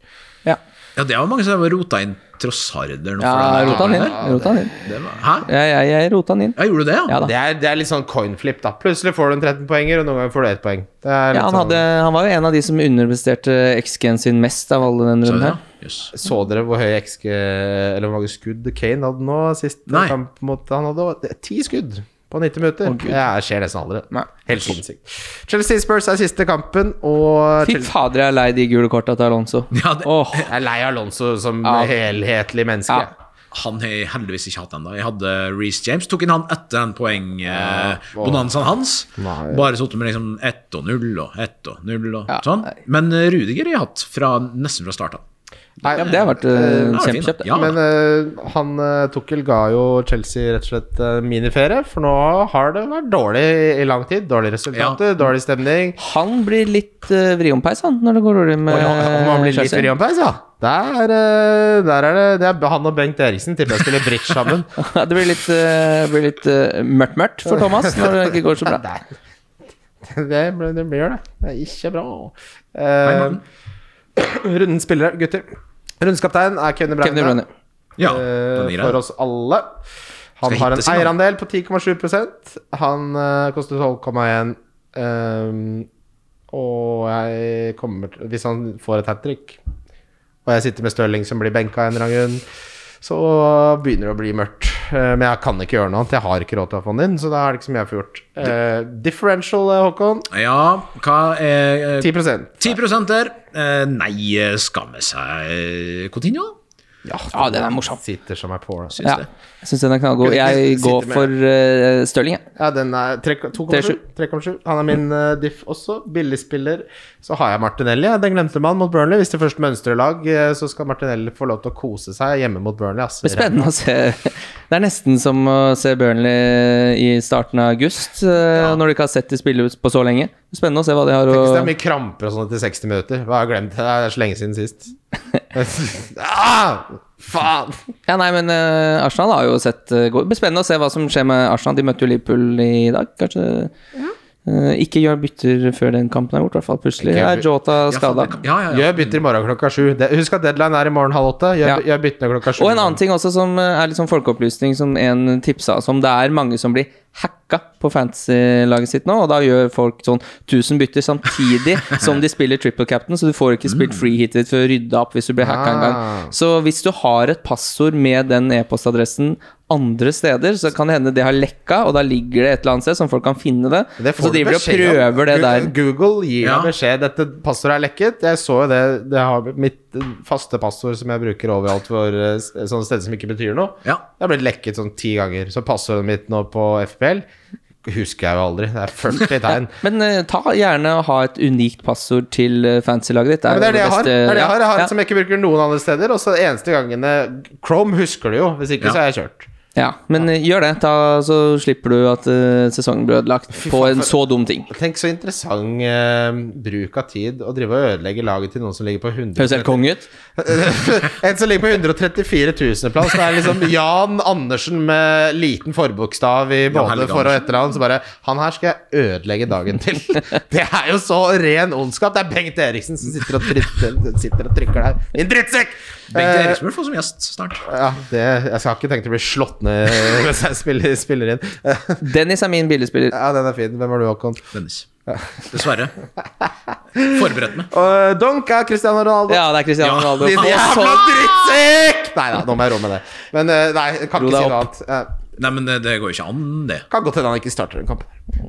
Ja, Ja, det var mange som rota inn Trossarder nå. ja for den rota han inn. der. Rota han inn. Det var, hæ? Ja, ja, jeg rota han inn. Ja, gjorde du det, ja? Ja da. Det er, det er litt sånn coinflip, da. Plutselig får du en 13-poenger, og noen ganger får du ett poeng. Det er litt Ja, han, hadde, sånn, han var jo en av de som underpresterte XG-en sin mest av alle denne Så, runden ja. her. Jøss. så dere hvor høy XG Eller hvor mange skudd Kane hadde nå? Sist Nei. kamp mot Han hadde det er ti skudd på 90 minutter. det skjer nesten aldri. Nei. Helt sinnssykt. Chelsea Spurs er siste kampen, og Fy fader, jeg er lei de gule korta til Alonso. Ja, det- Åh, Jeg er lei av Alonso som Ja. helhetlig menneske. Ja. Han har jeg heldigvis ikke hatt ennå. Jeg hadde Reece James. Tok inn han etter den poengbonanzaen hans. Nei. Bare sittet med liksom ett og null og ett og null og Ja, sånn. nei. Men eh, Rudiger har jeg hatt fra, nesten fra starten av. Nei, Ja, men det har vært eh, eh, det var fint, kjempekjøpt. det. ja. Men eh, han eh, Tuchel ga jo Chelsea rett og slett eh, miniferie, for nå har det vært dårlig i lang tid. Dårlige resultater, dårlig stemning. Han blir litt uh, vrionpeis, han, når det går dårlig med Oi, om han blir litt Chelsea. Rionpeis, ja. Der, eh, der er det, det er han og Bengt Eriksen tipper jeg spiller bridge *laughs* sammen. *laughs* Ja, det blir litt, eh, blir litt eh, mørkt, mørkt for Thomas når det ikke går så bra. Nei. Det, blir- det blir det. Det er ikke bra. Eh, *clears throat* rundens spillere, gutter. Rundens kaptein er *laughs* Kevin De Bruyne. Kevin De Bruyne. Ja, eh, den er for grei. oss alle. Han har Skal en hittes i dag. eierandel på 10,7 Han eh, koster 12,1 ehm, Og jeg kommer til Hvis han får et hat trick, og jeg sitter med Stirling som blir benka en eller annen grunn, så begynner det å bli mørkt. Eh, men jeg kan ikke gjøre noe annet. Jeg har ikke råd til å få den inn, så da er det ikke så mye jeg får gjort. Eh, differential, eh, Håkon, Ja, hva er eh, 10 10 der? Eh, Nei, eh, skamme seg eh, Coutinho Ja, den er morsom. Sitter som ei påle. syns Ja, det. jeg syns den er knallgod. Jeg Sitter går med- for uh, Stirling, jeg. Ja, den er tre- 2,7. 3,7. Han er min Mm. eh, diff også. Billigspiller. Så har jeg Martinelli. ja. Den glemte man mot Burnley. Hvis det først mønstrer lag, eh, så skal Martinelli få lov til å kose seg hjemme mot Burnley. ass. Det blir spennende å se. Det er nesten som å se Burnley i starten av august, eh, når du ikke har sett de spille ut på så lenge. Det er Spennende å se hva de har Tenk å hvis det er mye kramper og sånn etter 60 minutter. Hva har jeg glemt? Det er så lenge siden sist. *laughs* ah, faen! Ja, nei, men eh, Arsenal har jo sett eh, gå- Det blir spennende å se hva som skjer med Arsenal. De møtte jo Liverpool i dag, kanskje. Eh, ikke gjør bytter før den kampen er gjort, i hvert fall plutselig. Ikke- Er Jota Ja, skada? faen, det- Ja, ja, ja. Gjør bytter i morgen klokka sju. Det- Husk at deadline er i morgen halv åtte. Gjør, Ja. gjør byttene klokka sju. Og en annen ting også som eh, er litt sånn folkeopplysning, som en tipsa oss om. Det er mange som blir hacka på fantasy-laget sitt nå, og da gjør folk sånn 1000 bytter samtidig *laughs* som de spiller triple captain, så du får ikke spilt free hitet ditt for å rydde opp hvis du blir hacka en gang. Mm. Ah. Så hvis du har et passord med den e-postadressen andre steder, så kan det hende det har lekka, og da ligger det et eller annet sted som folk kan finne det. Og Det så Altså, får du driver de og beskjed om. prøver det Gu- der. Google gir Ja. deg beskjed. Dette passordet er lekket. Jeg så jo det. Det har mitt eh, faste passord som jeg bruker overalt for eh, s- sånne steder som ikke betyr noe. Ja. Det har blitt lekket sånn ti ganger. Så passordet mitt nå på FPL husker jeg jo aldri. Det er 40 *laughs* tegn. Men eh, ta gjerne og ha et unikt passord til eh, fantasy-laget ditt. Ja, men det er det jeg har. beste- Det er det jeg har, jeg har Ja, et som jeg ikke bruker noen andre steder. Og så eneste gangene Chrome husker det jo. Hvis ikke, Ja. så er jeg kjørt. Ja, men eh, gjør det, ta, så slipper du at eh, sesongen blir ødelagt på faen, en for- så dum ting. Tenk så interessant eh, bruk av tid å drive og ødelegge laget til noen som ligger på 100 Høres helt konge ut. *laughs* En som ligger på 134 000.-plass. Det er liksom Jan Andersen med liten forbokstav i både Helge for- og etternavn. Så bare Han her skal jeg ødelegge dagen til. *laughs* Det er jo så ren ondskap. Det er Bengt Eriksen som sitter og, tritt, sitter og trykker der. Din drittsekk! Bengt Eh, Eriksen vil få som gjest snart. Ja, det, jeg har ikke tenkt å bli slått ned *laughs* mens jeg spiller, spiller inn. *laughs* Dennis er min billigspiller. Ja, den er fin. Hvem har du, Håkon? Dennis. Dessverre. Forberedt meg. Uh, Donk er Cristiano Ronaldo. Ja, det er Cristiano *laughs* Ja, Ronaldo. Din Og så- jævla drittsekk! Nei da, nå må jeg rå med det. Men eh, nei, jeg kan Ro ikke deg si noe annet. Eh, Nei, men det, det går jo ikke an, det. Kan godt hende han ikke starter en kamp.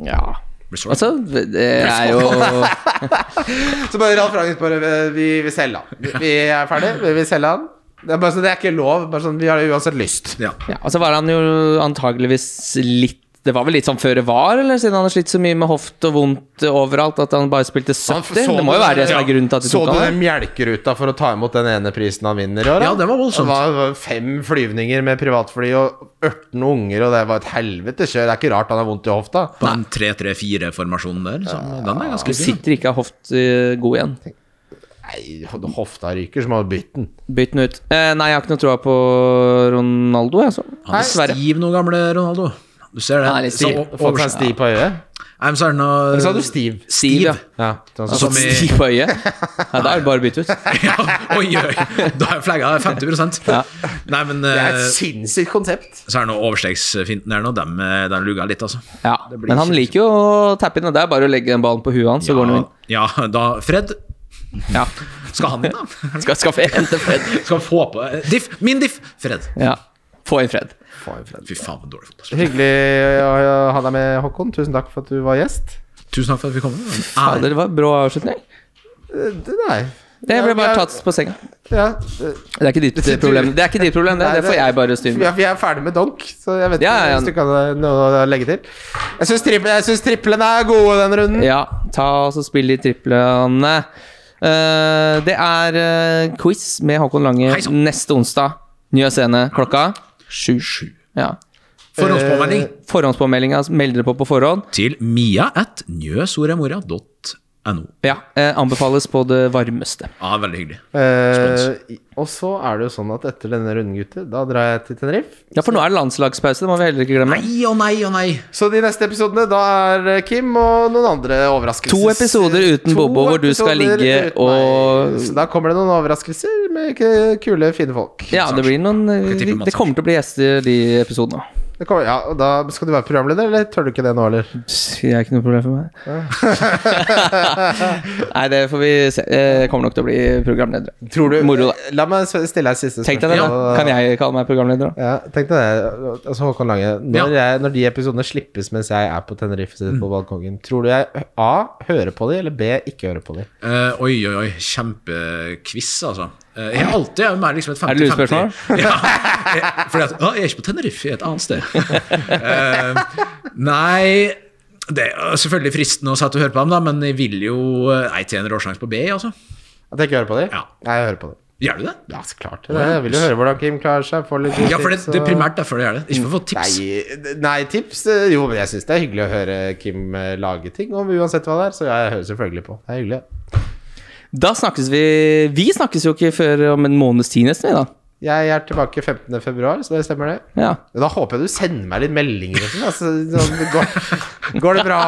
Ja. Blir sånn. Altså, det er jo Så bare Ralf Ragnhild bare eh, Vi vil selge han. Vi- Vi er ferdig, vi vil selge han. Det er, bare sånn, det er ikke lov. Bare sånn, vi har uansett lyst. Ja. ja, Og så var han jo antageligvis litt det var vel litt sånn før det var, eller siden han har slitt så mye med hoft og vondt overalt at han bare spilte 70? så Det må jo du- være det som er ja. grunnen til at de Så tok du han. den melkeruta for å ta imot den ene prisen han vinner i år? da? Ja, det var Det voldsomt. var, var fem flyvninger med privatfly og 18 unger, og det var et helvete kjør. Det er ikke rart han har vondt i hofta. På den 3-3-4-formasjonen der. Så, den er Du ganske fin. sitter ikke av hoft eh, god igjen. Nei, hofta ryker, så må du bytte den. Bytt den ut. Eh, nei, jeg har ikke noe troa på Ronaldo, jeg, så. Han er Dessverre. stiv nå, gamle Ronaldo. Du ser det. Han er litt stiv. Så, Du Får seg stiv på øyet. Nei, men så er det noe Eller sa du stiv? Stiv, ja. Ja, sånn som- Altså, Som Som i- stiv på *laughs* øyet? Ja, da er det bare å bytte ut. *laughs* ja, Oi, oi, da er flagga 50 Ja. Nei, men det er eh, et sinnssykt konsept. så er det noe overstegsfinten der nå. Den, eh, den luga litt, altså. Ja. Men han liker jo å tappe inn, og det er bare å legge den ballen på huet hans, så går han jo inn. Ja, da Fred, Ja. skal han inn, da? Skal, skal få hente Fred. Skal han få på eh, Diff! Min diff! Fred. Ja. Få inn Fred. Fy faen, for dårlig fotballspiller. Hyggelig å ha deg med, Håkon. Tusen takk for at du var gjest. Tusen takk for at vi kom. Ja, Ah, Ære. det var brå avslutning. Det, Eh, nei. Det ble bare Ja, tatt på senga. Ja, eh, Det er ikke ditt eh, problem, det, er ikke ditt problem, det. det får jeg bare styre Ja, med. for jeg er ferdig med donk, så jeg vet Ja, ikke ja. hvis du kan ha noe å legge til. Jeg syns triplene, triplen er gode den runden. Ja, ta og så spill de triplene. Eh, det er eh, quiz med Håkon Lange Hei sann. neste onsdag. Ny og sene klokka sju. Ja. Forhåndspåmelding Forhåndspåmeldinga melder dere på på forhånd. til mia at njøsoremoria.no. Ja, eh, Anbefales på det varmeste. Ja, veldig hyggelig. Eh, og så er det jo sånn at etter denne runden, gutter, da drar jeg til Tenerife. Ja, for nå er det landslagspause. Det må vi heller ikke glemme. Nei og nei og nei. Så de neste episodene, da er eh, Kim og noen andre overraskelser. To episoder uten Bobo, hvor du skal episoder ligge uten og- meg. Så da kommer det noen overraskelser med k- kule, fine folk. Ja, det blir noen eh, Skal tippe Mats Det kommer til å bli gjester de episodene òg. Det kommer, ja, og da Skal du være programleder, eller tør du ikke det nå, eller? Det er ikke noe problem for meg. *laughs* Nei, det får vi se. Jeg kommer nok til å bli programleder. Tror du Moro, da. La meg s- stille deg et siste Tenk deg det, da. spørsmål. Kan jeg kalle meg programleder, da? Ja, tenk deg det. Altså, Håkon Lange, når, jeg, når de episodene slippes mens jeg er på Tenerife sitter på balkongen, tror du jeg A. hører på de, eller B. ikke hører på de? Eh, oi, oi, oi. Kjempequiz, altså. Eh, jeg er alltid jeg er mer liksom et 50-50. Er det lurespørsmål? Ja. Jeg, fordi at, «Å, jeg er ikke på Tenerife, jeg er et annet sted. Eh, nei Det er selvfølgelig fristende å sette og høre på dem, da, men jeg vil jo eh, Nei, til en råsjanse på B, altså. At jeg ikke hører på de? Ja. Nei, jeg hører på de. Gjør du det? Ja, så klart. Jeg vil jo høre hvordan Kim klarer seg. Får litt Ja, for det, det er primært derfor jeg gjør det. Ikke for å få tips. Nei, nei, tips eh, Jo, men jeg syns det er hyggelig å høre Kim eh, lage ting, om uansett hva det er. Så jeg hører selvfølgelig på. Det er hyggelig. Da snakkes vi Vi snakkes jo ikke før om en måneds tid, nesten, vi, da. Jeg er tilbake 15. februar, så det stemmer, det. Ja. Da håper jeg du sender meg litt meldinger og sånn. Altså, sånn går, *laughs* går det bra?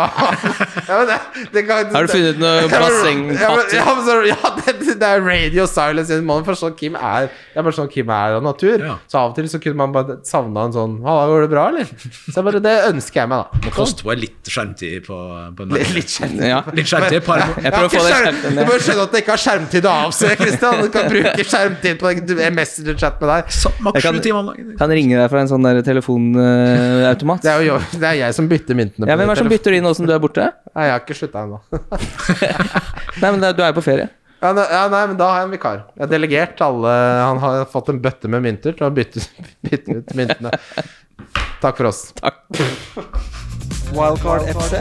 Ja, men det, det kan, Har du funnet noe ja, men, bassengkatter? ja, men så- ja det, det er radio silence. Man forstår at Kim er Det er bare sånn Kim er av natur. Ja. Så av og til så kunne man bare savna en sånn Halla, går det bra, eller? Så jeg bare, det ønsker jeg meg, da. Må koste henne litt skjermtid på, på en Litt skjerm. Ja. Litt skjermtid, et par må- Jeg prøver å få det Jeg har skjerpet ikke skjerm- Du ned. må skjønne at jeg ikke har skjermtid å avse, Christian. Du kan bruke skjermtid på en Messenger-chat med deg. så- Jeg Maks kan- sju timer om dagen. Kan ringe deg fra en sånn der telefonautomat. Det er jo det er jeg som bytter myntene. på Ja, hvem er det som telefon- bytter inn nå som du er borte? Nei, jeg har ikke slutta ennå. *laughs* Nei, men det er- Du er jo på ferie. Ja, ne- ja, nei, men da har jeg en vikar. Jeg har delegert alle Han har fått en bøtte med mynter til å bytte, bytte ut *laughs* myntene. Takk for oss. Wildcard FC.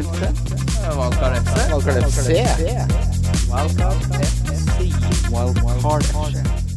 Wildcard FC. Wildcard FC. Wildcard FC.